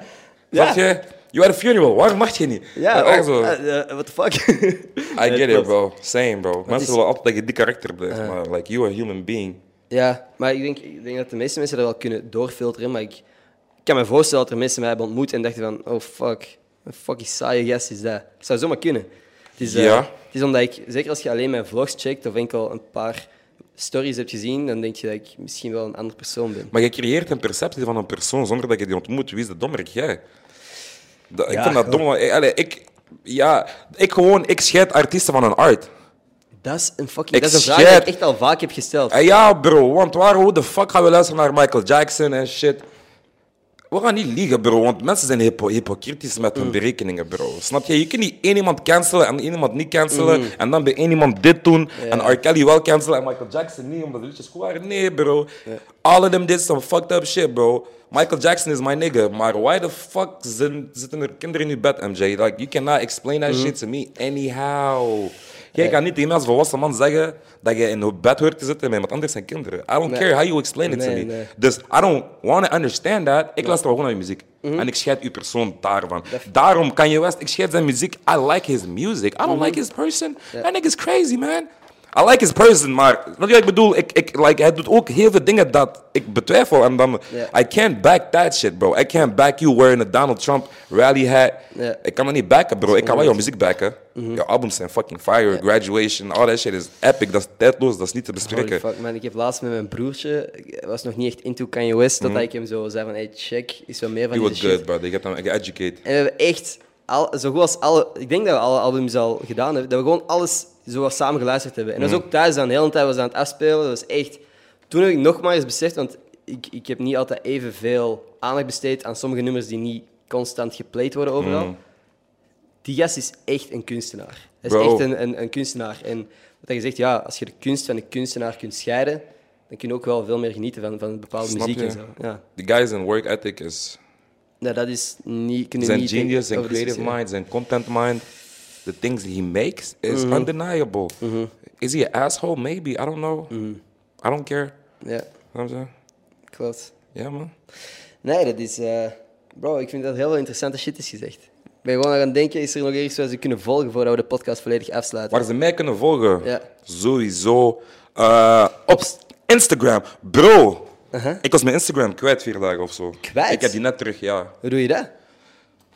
Snap je? You had a funeral, waarom mag je niet?
Ja,
echt
oh,
zo.
eh, eh, what the fuck?
I
Nee,
get it,
klopt.
bro. Same, bro. Mensen
is-
willen altijd dat je die karakter blijft, maar like, you a human being.
Ja, maar ik denk, ik denk dat de meeste mensen dat wel kunnen doorfilteren. Maar ik, ik kan me voorstellen dat er mensen mij hebben ontmoet en dachten van... Oh, fuck. Een fucking saaie gast is dat. Het zou zomaar kunnen. Het is, eh,
Ja.
het is omdat ik... Zeker als je alleen mijn vlogs checkt of enkel een paar stories hebt gezien, dan denk je dat ik misschien wel een ander persoon ben.
Maar je creëert een perceptie van een persoon zonder dat je die ontmoet. Wie is de dommerik? Jij. Dat- ik
Ja,
vind dat
gewoon.
dom. eh, allee, ik, ja, ik gewoon, ik scheid artiesten van hun art.
Dat is een fucking...
Ik
dat is een vraag
scheid-
die ik echt al vaak heb gesteld.
En Eh, ja, bro, want waar, hoe de fuck gaan we luisteren naar Michael Jackson en shit? We gaan niet liegen, bro, want mensen zijn hypo hypocritisch met hun
Mm.
berekeningen, bro. Snap je? Je kunt niet één iemand cancelen en één iemand niet
Mm.
cancelen. En dan bij één iemand dit doen en R. Kelly wel cancelen en Michael Jackson niet, omdat de liedjes goed waren. Nee, bro. All of them did some fucked up shit, bro. Michael Jackson is my nigga, maar why the fuck zin- zitten er kinderen in je bed, MJ? Like, you cannot explain
Mm.
that shit to me anyhow. Jij kan niet tegen mij als volwassen man zeggen dat je in een bed hoort te zitten met iemand anders zijn kinderen. I don't care how you explain it to
Nee,
me.
nee.
Dus I don't want to understand that. Ik luister gewoon naar je muziek.
Mhm.
En ik scheid uw persoon daarvan. Daarom kan je West, ik scheid zijn muziek. I like his music. I don't
Mhm.
like his person. That nigga's crazy, man. I like his person, maar wat ik bedoel, ik, ik, like, hij doet ook heel veel dingen dat ik betwijfel. En dan,
Ja.
I can't back that shit, bro. I can't back you wearing a Donald Trump rally hat.
Ja. Mhm.
Ik kan dat niet backen, bro. Ik kan wel jouw muziek backen. Jouw albums zijn fucking fire. Graduation, all that shit is epic. Dat is tijdloos, dat is niet te
Holy
bespreken.
fuck, man. Ik heb laatst met mijn broertje... Ik was nog niet echt into Kanye West, totdat ik hem zo zei van... Hey, check, is wel meer van
Mhm. You
deze
was
shit.
good, bro. Je hebt hem geeducated.
En we hebben echt al, zo goed als alle. Ik denk dat we alle albums al gedaan hebben. Dat we gewoon alles zo wat samen geluisterd hebben. En dat
Mm.
was ook thuis dan. De hele tijd was aan het afspelen. Dat was echt. Toen heb ik nogmaals beseft, want ik, ik heb niet altijd evenveel aandacht besteed aan sommige nummers die niet constant geplayed worden overal.
Mm.
Die gast is echt een kunstenaar. Hij is
Bro.
echt een, een, een kunstenaar. En wat je zegt, ja, als je de kunst van de kunstenaar kunt scheiden, dan kun je ook wel veel meer genieten van, van bepaalde
Snap
muziek en
je?
zo. Ja.
Die guys in work ethic is...
Nou, dat is niet... kunnen
Zijn
niet denken
genius, zijn
over
creative
discussiëren.
mind, zijn content mind. The things he makes is undeniable. Is he an asshole? Maybe. I don't know. I don't care.
Ja,
Snap je?
klopt.
Ja, man.
Nee, dat is. eh, bro, ik vind dat heel veel interessante shit is gezegd. Ik ben gewoon aan het denken: is er nog ergens waar ze kunnen volgen voordat we de podcast volledig afsluiten?
Waar ze mij kunnen volgen.
Ja.
Sowieso. Eh, op s- Instagram. Bro. Ik was mijn Instagram kwijt vier dagen of zo.
Kwijt?
Ik heb die net terug, ja.
Hoe doe je dat?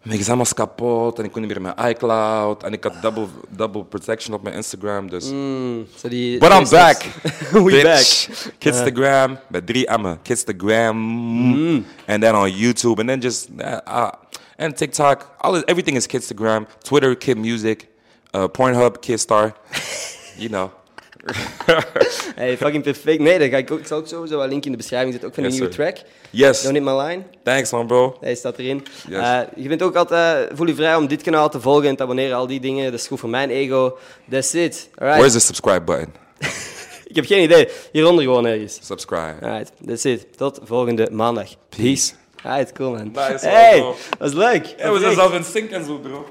Mijn examen was kapot en ik kon niet meer in mijn iCloud. En ik had double, double protection op mijn Instagram. Dus.
Zo die,
But I'm
die-
back. Uh-huh.
We
bitch. Kidstagram. Met drie M'en. Kidstagram. And then on YouTube. And then just... eh, ah. and TikTok. All, is- everything is Kidstagram. Twitter, Kid Music. eh, Pornhub, Kidstar. you know.
Hey, fucking perfect. Nee, dan ga ik ook, ik zal ook sowieso wel een link in de beschrijving zetten. Ook van de
Yes,
nieuwe
sir.
track.
Yes.
Don't hit my line.
Thanks, man, bro.
Hij staat erin. Eh, je bent ook altijd, eh, voel je vrij om dit kanaal te volgen en te abonneren. Al die dingen. Dat is goed voor mijn ego. That's it. Alright.
Where's the subscribe button?
Ik heb geen idee. Hieronder gewoon ergens.
Subscribe.
Alright, that's it. Tot volgende maandag.
Peace.
Alright, cool man.
Nice,
hey,
man, bro.
was leuk.
It was
Oprecht.
as I've been sinking, bro.